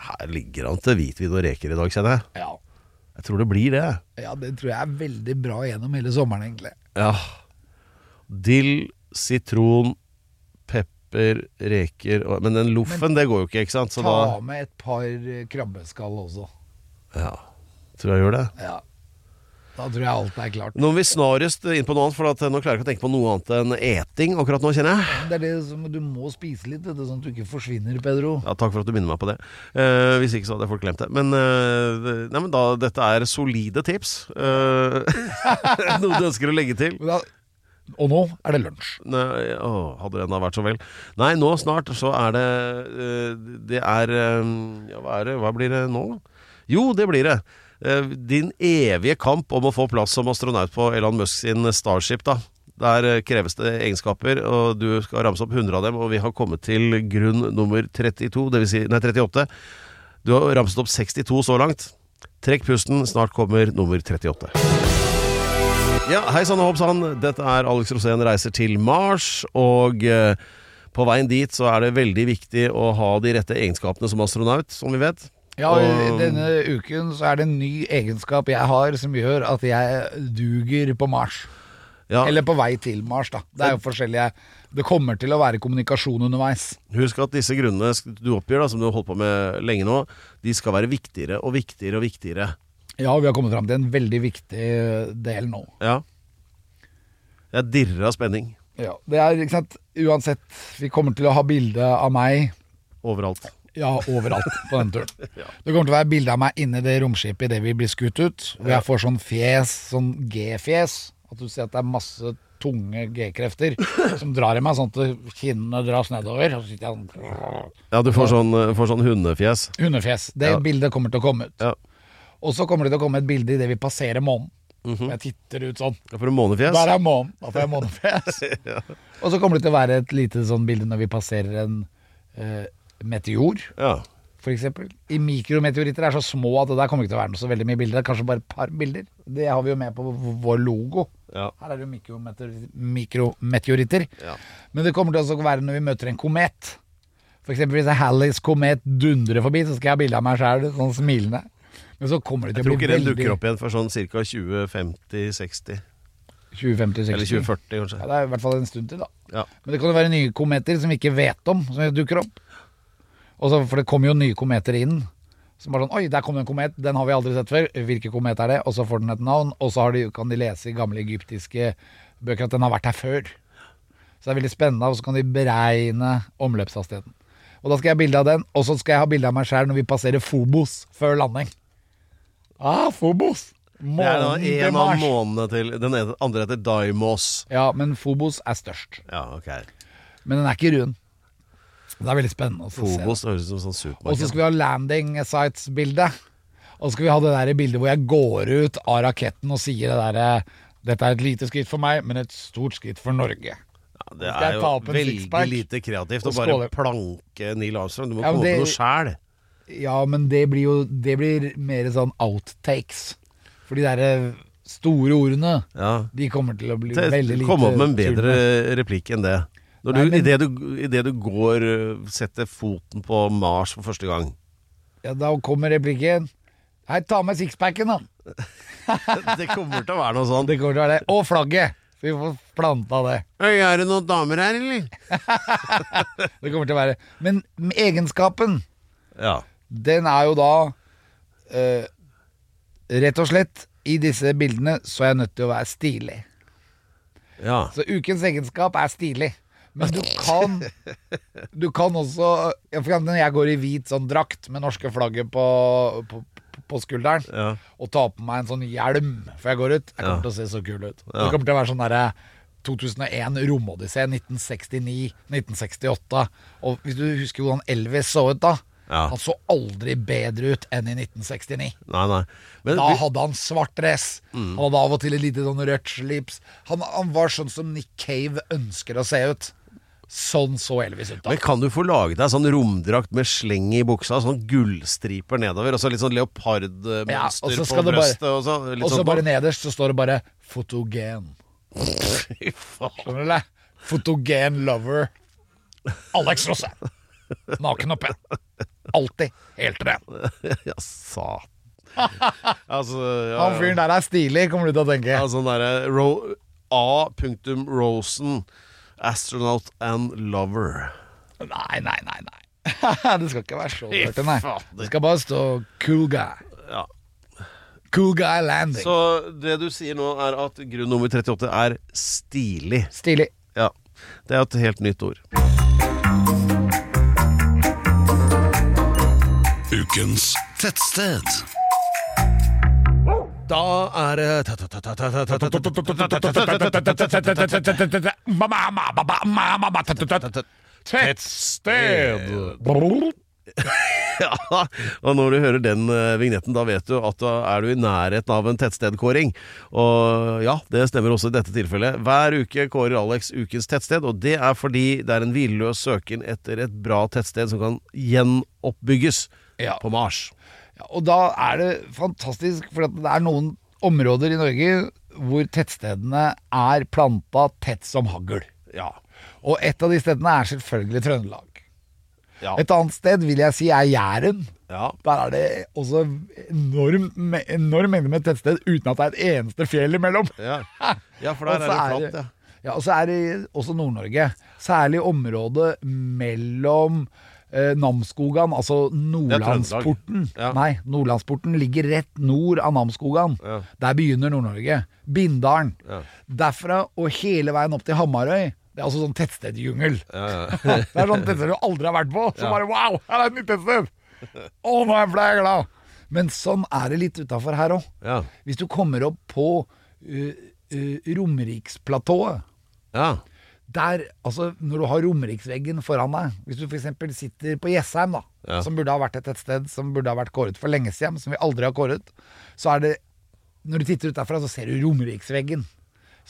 Speaker 2: Her ligger han til hvitvin og reker i dag, kjenner jeg.
Speaker 3: Ja.
Speaker 2: Jeg tror det blir det.
Speaker 3: ja, det tror jeg er veldig bra gjennom hele sommeren, egentlig.
Speaker 2: Ja. Dill, sitron, pepper, reker og, Men den loffen, det går jo ikke, ikke sant? Så
Speaker 3: Ta
Speaker 2: da
Speaker 3: med et par eh, krabbeskall også.
Speaker 2: ja, tror jeg gjør det.
Speaker 3: Ja. Da tror jeg alt er klart.
Speaker 2: Nå må vi snarest inn på noe annet, for at eh, nå klarer jeg ikke å tenke på noe annet enn eting akkurat nå, kjenner jeg.
Speaker 3: Det er det som Du må spise litt, vet du, sånn at du ikke forsvinner, Pedro.
Speaker 2: Ja, Takk for at du minner meg på det. Eh, hvis ikke så hadde folk glemt det. Men, eh, nei, men da, dette er solide tips. Eh, noe du ønsker å legge til?
Speaker 3: Men da, og nå er det lunsj.
Speaker 2: Nei, åh, hadde den da vært så vel. Nei, nå snart så er det eh, Det er eh, Ja, hva er det? Hva blir det nå? Jo, det blir det. Eh, Din evige kamp om å få plass som astronaut på Elon Musk sin Starship, da. Der eh, kreves det egenskaper, og du skal ramse opp 100 av dem. Og vi har kommet til grunn nummer 32, det vil si, nei 38. Du har ramset opp 62 så langt. Trekk pusten, snart kommer nummer 38. Ja, hei sann og hopp sann. Dette er Alex Rosén reiser til Mars. Og eh, på veien dit så er det veldig viktig å ha de rette egenskapene som astronaut, som vi vet.
Speaker 3: Ja, og i
Speaker 2: Og-
Speaker 3: denne uken så er det en ny egenskap jeg har som gjør at jeg duger på Mars.
Speaker 2: Ja,
Speaker 3: Eller på vei til Mars, da. Det er jo forskjellige Det kommer til å være kommunikasjon underveis.
Speaker 2: Husk at disse grunnene sk- du oppgir, da, som du har holdt på med lenge nå, de skal være viktigere og viktigere og viktigere.
Speaker 3: Ja, vi har kommet fram til en veldig viktig eh, del nå.
Speaker 2: Ja. Jeg dirrer av spenning
Speaker 3: Ja, det er, ikke sant, uansett, vi kommer til å ha bilde av meg
Speaker 2: overalt.
Speaker 3: ja, overalt på den turen. Det kommer til å være bilde av meg inni det romskipet idet vi blir skutt ut. Og jeg får sånn fjes, sånn G-fjes. At du ser at det er masse tunge G-krefter som drar i meg, sånn at kinnene dras nedover. Og så sitter jeg sånn
Speaker 2: Ja, du får sånn, eh, får sånn hundefjes.
Speaker 3: Hundefjes. Det
Speaker 2: Ja.
Speaker 3: bildet kommer til å komme ut.
Speaker 2: Ja.
Speaker 3: Og så kommer det til å komme et bilde idet vi passerer månen.
Speaker 2: Mhm.
Speaker 3: Jeg titter ut sånn.
Speaker 2: Jeg får en månefjes.
Speaker 3: Der er månen. Da får jeg månefjes. Og så kommer det til å være et lite sånn bilde når vi passerer en eh, meteor,
Speaker 2: Ja.
Speaker 3: f.eks. I mikrometeoritter er så små at det der kommer ikke til å være noe så veldig mye bilder. Det er kanskje bare et par bilder. Det har vi jo med på vår logo.
Speaker 2: Ja.
Speaker 3: Her er det jo mikrometeor- mikrometeoritter.
Speaker 2: Ja.
Speaker 3: Men det kommer til å også være når vi møter en komet. For eksempel hvis Halleys komet dundrer forbi, så skal jeg ha bilde av meg sjæl sånn smilende. Men så kommer
Speaker 2: Jeg
Speaker 3: det til
Speaker 2: tror
Speaker 3: å
Speaker 2: ikke
Speaker 3: bli
Speaker 2: den
Speaker 3: veldig
Speaker 2: dukker opp igjen før sånn ca. 2050-60.
Speaker 3: 2050-60.
Speaker 2: Eller 2040, kanskje.
Speaker 3: Ja, det er i hvert fall en stund til, da.
Speaker 2: Ja.
Speaker 3: Men det kan jo være nye kometer som vi ikke vet om, som dukker opp. Og så- for det kommer jo nye kometer inn. Som bare sånn Oi, der kom det en komet. Den har vi aldri sett før. Hvilken komet er det? Og så får den et navn, og så har de, kan de lese i gamle egyptiske bøker at den har vært her før. Så det er veldig spennende, og så kan de beregne omløpshastigheten. Og da skal jeg ha bilde av den, og så skal jeg ha bilde av meg sjæl når vi passerer Fobos før landing. Ah, Fobos!
Speaker 2: Det er da
Speaker 3: Månen til
Speaker 2: en av
Speaker 3: Mars.
Speaker 2: månedene til Den ene- andre heter Daimos.
Speaker 3: Ja, men Fobos er størst.
Speaker 2: Ja, ok
Speaker 3: Men den er ikke rund. Det er veldig spennende å se.
Speaker 2: Fobos det høres ut som sånn
Speaker 3: Og så
Speaker 2: supermarked.
Speaker 3: skal vi ha landing sites-bildet. Og så skal vi ha det der bildet hvor jeg går ut av raketten og sier det derre Dette er et lite skritt for meg, men et stort skritt for Norge.
Speaker 2: Ja, det
Speaker 3: skal
Speaker 2: er
Speaker 3: jeg
Speaker 2: jo
Speaker 3: ta opp en
Speaker 2: veldig
Speaker 3: sixpack
Speaker 2: lite kreativt å
Speaker 3: og
Speaker 2: bare
Speaker 3: skåle?
Speaker 2: planke Neil Armstrong. Du må
Speaker 3: Ja, men
Speaker 2: komme på
Speaker 3: det-
Speaker 2: noe sjæl.
Speaker 3: Ja, men det blir jo Det blir mer sånn outtakes. For de derre store ordene,
Speaker 2: Ja.
Speaker 3: de kommer til å bli veldig lite
Speaker 2: Kom opp med en bedre
Speaker 3: tull med.
Speaker 2: replikk enn det. Når du,
Speaker 3: Nei, men-
Speaker 2: i, det du, I det du går øh, Setter foten på Mars for første gang.
Speaker 3: Ja, da kommer replikken. Hei, ta med sixpacken, da.
Speaker 2: Det kommer til å være noe sånn
Speaker 3: Det kommer til å være det. Og flagget! Så vi får planta det.
Speaker 2: Øy, er det noen damer her, eller?
Speaker 3: Det kommer til å være Men egenskapen,
Speaker 2: Ja.
Speaker 3: den er jo da eh, Rett og slett, i disse bildene så er jeg nødt til å være stilig.
Speaker 2: ja.
Speaker 3: Så ukens egenskap er stilig. Men du kan Du kan også ja, For eksempel når jeg går i hvit sånn drakt med norske flagget på, på, på skulderen,
Speaker 2: Ja.
Speaker 3: og tar på meg en sånn hjelm før jeg går ut, jeg kommer
Speaker 2: Ja.
Speaker 3: til å se så kul ut.
Speaker 2: Ja.
Speaker 3: Det kommer til å være sånn derre 2001, Romodyssé, 1969, 1968. Og hvis du husker hvordan Elvis så ut da
Speaker 2: Ja.
Speaker 3: Han så aldri bedre ut enn i 1969.
Speaker 2: Nei, nei. Men
Speaker 3: Da
Speaker 2: vi- Mm.
Speaker 3: hadde han svart dress. Han hadde av og til et lite sånn rødt slips. Han, han var sånn som Nick Cave ønsker å se ut. Sånn så Elvis ut da.
Speaker 2: Men kan du få laget deg sånn romdrakt med sleng i buksa, sånn gullstriper nedover, og så litt sånn leopardmønster
Speaker 3: Ja, og så
Speaker 2: på
Speaker 3: skal det bare-
Speaker 2: brøstet, og så litt
Speaker 3: Og så
Speaker 2: sånn
Speaker 3: bare nederst så står det bare 'fotogen'.
Speaker 2: Fy faen.
Speaker 3: Skjønner du det? Fotogen lover Alex Rosse. Naken og pen. Alltid helt ren.
Speaker 2: Ja, satan. Altså, ja,
Speaker 3: Han fyren der er stilig, kommer du til å tenke.
Speaker 2: ja, sånn derre ro A. punktum Rosen. Astronaut and lover.
Speaker 3: Nei, nei, nei. nei Det skal ikke være så flørte, nei. Det skal bare stå 'cool guy'.
Speaker 2: Ja.
Speaker 3: Cool guy landing.
Speaker 2: Så det du sier nå, er at grunn nummer 38 er stilig.
Speaker 3: Stilig.
Speaker 2: Ja. Det er jo et helt nytt ord.
Speaker 5: Ukens tettsted.
Speaker 2: Da er det
Speaker 3: Tettsted.
Speaker 2: Ja, og når du hører den eh, vignetten, da vet du at da er du i nærheten av en tettstedkåring. Og ja, det stemmer også i dette tilfellet. Hver uke kårer Alex ukens tettsted, og det er fordi det er en hvileløs søken etter et bra tettsted som kan gjenoppbygges
Speaker 3: Ja.
Speaker 2: på Mars.
Speaker 3: Ja, og da er det fantastisk, for at det er noen områder i Norge hvor tettstedene er planta tett som hagl.
Speaker 2: Ja.
Speaker 3: Og et av de stedene er selvfølgelig Trøndelag.
Speaker 2: Ja.
Speaker 3: Et annet sted vil jeg si er Jæren.
Speaker 2: Ja.
Speaker 3: Der er det også enorm, me- enorm mengde med tettsted uten at det er et eneste fjell imellom.
Speaker 2: Ja. Ja, for der er
Speaker 3: Og så
Speaker 2: det flatt, ja.
Speaker 3: ja. Og så er det også Nord-Norge. Særlig området mellom eh, Namsskogan, altså Nordlandsporten.
Speaker 2: Ja.
Speaker 3: Nei, Nordlandsporten ligger rett nord av Namsskogan.
Speaker 2: Ja.
Speaker 3: Der begynner Nord-Norge. Bindalen.
Speaker 2: Ja.
Speaker 3: Derfra og hele veien opp til Hamarøy. Det er altså sånn tettstedjungel. det er sånn tettsted du aldri har vært på. Så bare wow, her er et nytt tettsted! Å, nå er jeg- ble jeg glad! Men sånn er det litt utafor her òg.
Speaker 2: Ja.
Speaker 3: Hvis du kommer opp på uh, uh, Romeriksplatået
Speaker 2: Ja.
Speaker 3: der, altså Når du har Romeriksveggen foran deg Hvis du f.eks. sitter på Jessheim, da,
Speaker 2: Ja.
Speaker 3: som burde ha vært et tettsted som burde ha vært kåret for lenge siden, som vi aldri har kåret, så er det Når du titter ut derfra, så ser du Romeriksveggen,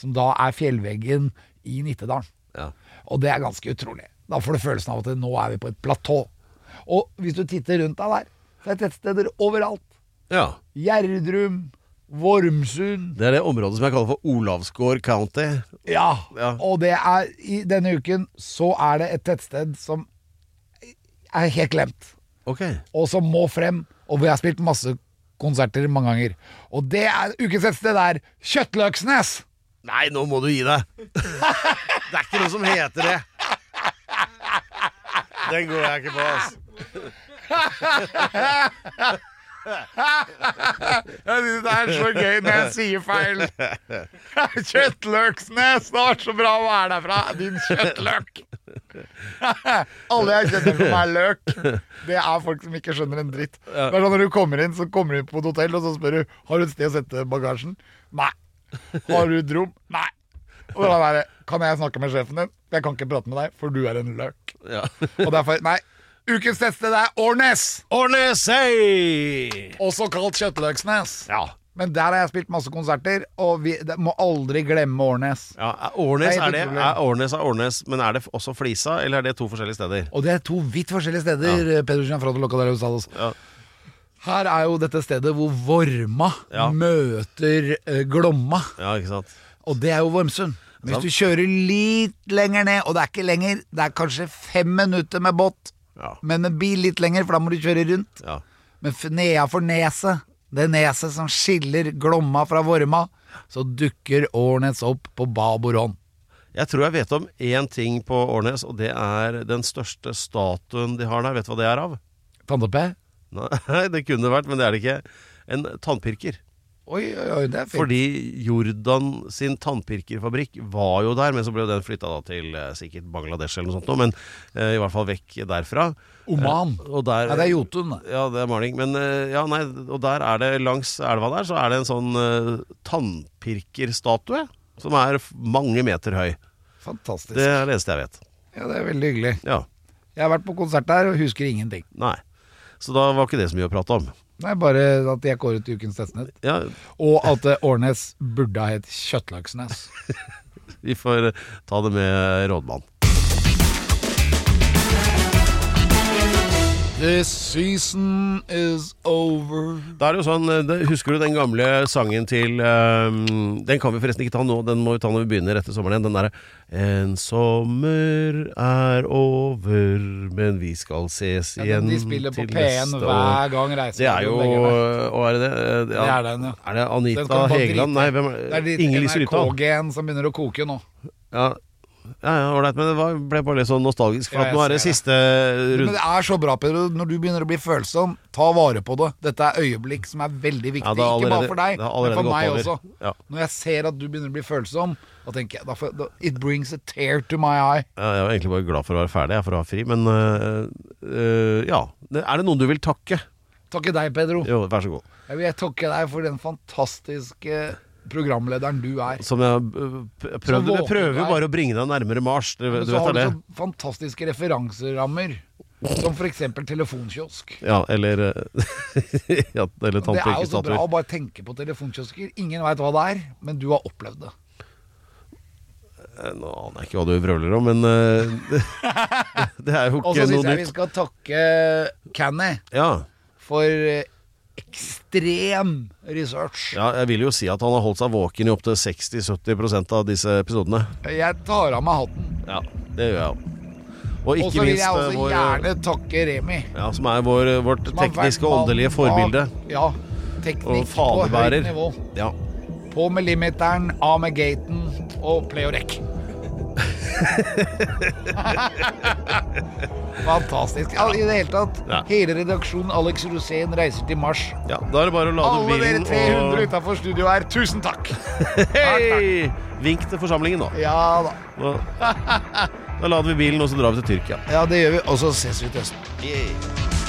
Speaker 3: som da er fjellveggen i Nittedalen.
Speaker 2: Ja.
Speaker 3: Og det er ganske utrolig. Da får du følelsen av at nå er vi på et platå. Og hvis du titter rundt deg der, så er det tettsteder overalt.
Speaker 2: ja.
Speaker 3: Gjerdrum, Vormsund
Speaker 2: Det er det området som jeg kaller for Olavsgård County.
Speaker 3: Ja.
Speaker 2: Ja.
Speaker 3: Og det er i denne uken så er det et tettsted som er helt glemt,
Speaker 2: Ok.
Speaker 3: og som må frem. Og vi har spilt masse konserter mange ganger. Og det er ukens tettsted er Kjøttløksnes!
Speaker 2: Nei, nå må du gi deg! Det er ikke noe som heter det. Den går jeg ikke på, ass.
Speaker 3: Jeg synes det er så gøy når jeg sier feil. Kjøttløksnes! Det var så bra å være derfra, din kjøttløk. Alle jeg kjenner som er løk, det er folk som ikke skjønner en dritt. Det er sånn Når du kommer inn, så kommer du inn på et hotell, og så spør du Har du et sted å sette bagasjen. Nei. Har du et rom? Nei. Og da er det, Kan jeg snakke med sjefen din? Jeg kan ikke prate med deg, for du er en løk.
Speaker 2: Ja.
Speaker 3: Og derfor, nei. Ukens tettsted er Årnes,
Speaker 2: Årnes, hei!
Speaker 3: også kalt Kjøttløksnes.
Speaker 2: Ja.
Speaker 3: Men der har jeg spilt masse konserter, og vi det, må aldri glemme Årnes.
Speaker 2: ja. Årnes,
Speaker 3: Nei,
Speaker 2: er det,
Speaker 3: det tror jeg.
Speaker 2: er Årnes er Årnes, men er det også Flisa, eller er det to forskjellige steder?
Speaker 3: Og det er to vidt forskjellige steder. Pedersen er fra Locadero Salos.
Speaker 2: Ja.
Speaker 3: Her er jo dette stedet hvor Vorma
Speaker 2: Ja.
Speaker 3: møter eh, Glomma,
Speaker 2: Ja, ikke sant?
Speaker 3: og det er jo Vormsund. Men hvis du kjører litt lenger ned, og det er ikke lenger, det er kanskje fem minutter med båt,
Speaker 2: Ja.
Speaker 3: men med bil litt lenger, for da må du kjøre rundt.
Speaker 2: Ja.
Speaker 3: Men f- nedafor neset, det neset som skiller Glomma fra Vorma, så dukker Årnes opp på babord hånd.
Speaker 2: Jeg tror jeg vet om én ting på Årnes, og det er den største statuen de har der. Vet du hva det er av?
Speaker 3: Tante P?
Speaker 2: Nei, det kunne det vært, men det er det ikke. En tannpirker.
Speaker 3: Oi, oi, oi, det er fint.
Speaker 2: Fordi Jordan sin tannpirkerfabrikk var jo der, men så ble jo den flytta da til eh, sikkert Bangladesh eller noe sånt, nå, men eh, i hvert fall vekk derfra.
Speaker 3: Oman.
Speaker 2: Eh, og der,
Speaker 3: Nei, det er Jotun. det.
Speaker 2: Ja, det er maling. Men eh, ja, nei, og der er det langs elva der, så er det en sånn eh, tannpirkerstatue som er f- mange meter høy.
Speaker 3: Fantastisk.
Speaker 2: Det er det eneste jeg vet.
Speaker 3: Ja, det er veldig hyggelig.
Speaker 2: Ja.
Speaker 3: Jeg har vært på konsert der og husker ingenting.
Speaker 2: Nei. Så da var ikke det så mye å prate om.
Speaker 3: Nei, bare at jeg kåret til ukens Testnett.
Speaker 2: Ja,
Speaker 3: Og at eh, Årnes burde ha hett Kjøttløksnes.
Speaker 2: vi får eh, ta det med rådmannen.
Speaker 3: This season is over.
Speaker 2: Da er det jo sånn, det, Husker du den gamle sangen til ehm, Den kan vi forresten ikke ta nå, den må vi ta når vi begynner etter sommeren igjen. Den derre En sommer er over, men vi skal ses
Speaker 3: Ja,
Speaker 2: igjen
Speaker 3: den de spiller på
Speaker 2: til
Speaker 3: P1
Speaker 2: neste år.
Speaker 3: hver gang reiser
Speaker 2: Det er jo
Speaker 3: til Vegard.
Speaker 2: Hva er det det? Eh,
Speaker 3: Det er den, ja.
Speaker 2: Er det
Speaker 3: Den
Speaker 2: Anita
Speaker 3: skal du bare
Speaker 2: Hegeland?
Speaker 3: drite
Speaker 2: Nei,
Speaker 3: i.
Speaker 2: hvem er
Speaker 3: Det
Speaker 2: det?
Speaker 3: er ditt
Speaker 2: Inger-Lise Rytdal.
Speaker 3: NRK-gen som begynner å koke nå.
Speaker 2: Ja, ja, ja, ålreit, men det var, ble bare litt sånn nostalgisk, for
Speaker 3: Ja,
Speaker 2: at
Speaker 3: jeg
Speaker 2: nå er det
Speaker 3: ser det.
Speaker 2: siste
Speaker 3: Men
Speaker 2: runde.
Speaker 3: det er så bra, Pedro. Når du begynner å bli følsom, ta vare på det. Dette er øyeblikk som er veldig viktig.
Speaker 2: Ja, det har
Speaker 3: ikke
Speaker 2: allerede-
Speaker 3: bare for deg,
Speaker 2: det har
Speaker 3: men
Speaker 2: allerede
Speaker 3: for
Speaker 2: gått
Speaker 3: meg
Speaker 2: over.
Speaker 3: også.
Speaker 2: Ja.
Speaker 3: Når jeg ser at du begynner å bli følsom, da tenker jeg da får, da, It brings a tear to my eye.
Speaker 2: Ja, jeg var egentlig bare glad for å være ferdig, jeg, for å ha fri, men eh, eh, ja. Er det noen du vil takke?
Speaker 3: Takke deg, Pedro.
Speaker 2: Jo, vær så god.
Speaker 3: Jeg vil takke deg for den fantastiske programlederen du er.
Speaker 2: Som jeg eh, p- prøvde Jeg
Speaker 3: våken
Speaker 2: prøver
Speaker 3: du
Speaker 2: jo
Speaker 3: er.
Speaker 2: bare å bringe deg nærmere Mars. Du,
Speaker 3: Men
Speaker 2: du
Speaker 3: så
Speaker 2: vet det
Speaker 3: har du
Speaker 2: er det?
Speaker 3: så fantastiske referanserammer, som f.eks. telefonkiosk.
Speaker 2: Ja, eller eh, ja, Eller
Speaker 3: Det er jo så bra
Speaker 2: tannpirkestatuer.
Speaker 3: å bare tenke på telefonkiosker. Ingen veit hva det er, men du har opplevd det.
Speaker 2: Eh, Nå aner jeg ikke hva du vrøvler om, men eh, det, det er jo
Speaker 3: Og så
Speaker 2: ikke
Speaker 3: syns
Speaker 2: noe
Speaker 3: jeg vi
Speaker 2: nytt.
Speaker 3: skal takke Canny
Speaker 2: Ja.
Speaker 3: for eh, ekstrem research.
Speaker 2: Ja, jeg vil jo si at han har holdt seg våken i opptil 60-70 av disse episodene.
Speaker 3: Jeg tar av meg hatten.
Speaker 2: Ja, det gjør jeg òg. Og
Speaker 3: Og
Speaker 2: ikke
Speaker 3: så vil
Speaker 2: minst
Speaker 3: jeg
Speaker 2: eh,
Speaker 3: også
Speaker 2: vår,
Speaker 3: gjerne takke Remi.
Speaker 2: ja, som er vår, vårt
Speaker 3: som har vært
Speaker 2: tekniske og
Speaker 3: mann
Speaker 2: åndelige
Speaker 3: av-
Speaker 2: forbilde.
Speaker 3: Ja.
Speaker 2: Og
Speaker 3: Teknikk på høyt
Speaker 2: fanebærer.
Speaker 3: nivå.
Speaker 2: Ja.
Speaker 3: På med limiteren, av med gaten og play og rekk. Fantastisk. Ja, I det hele tatt,
Speaker 2: Ja.
Speaker 3: hele redaksjonen Alex Rosén reiser til Mars.
Speaker 2: ja. Da er det bare å lade
Speaker 3: Alle dere
Speaker 2: bilen
Speaker 3: 300
Speaker 2: og
Speaker 3: utenfor studio her, tusen takk!
Speaker 2: Hei! Vink til forsamlingen, da.
Speaker 3: Ja da.
Speaker 2: Nå- Da lader vi bilen, og så drar vi til Tyrkia.
Speaker 3: Ja, det gjør vi. Og så ses vi til høsten.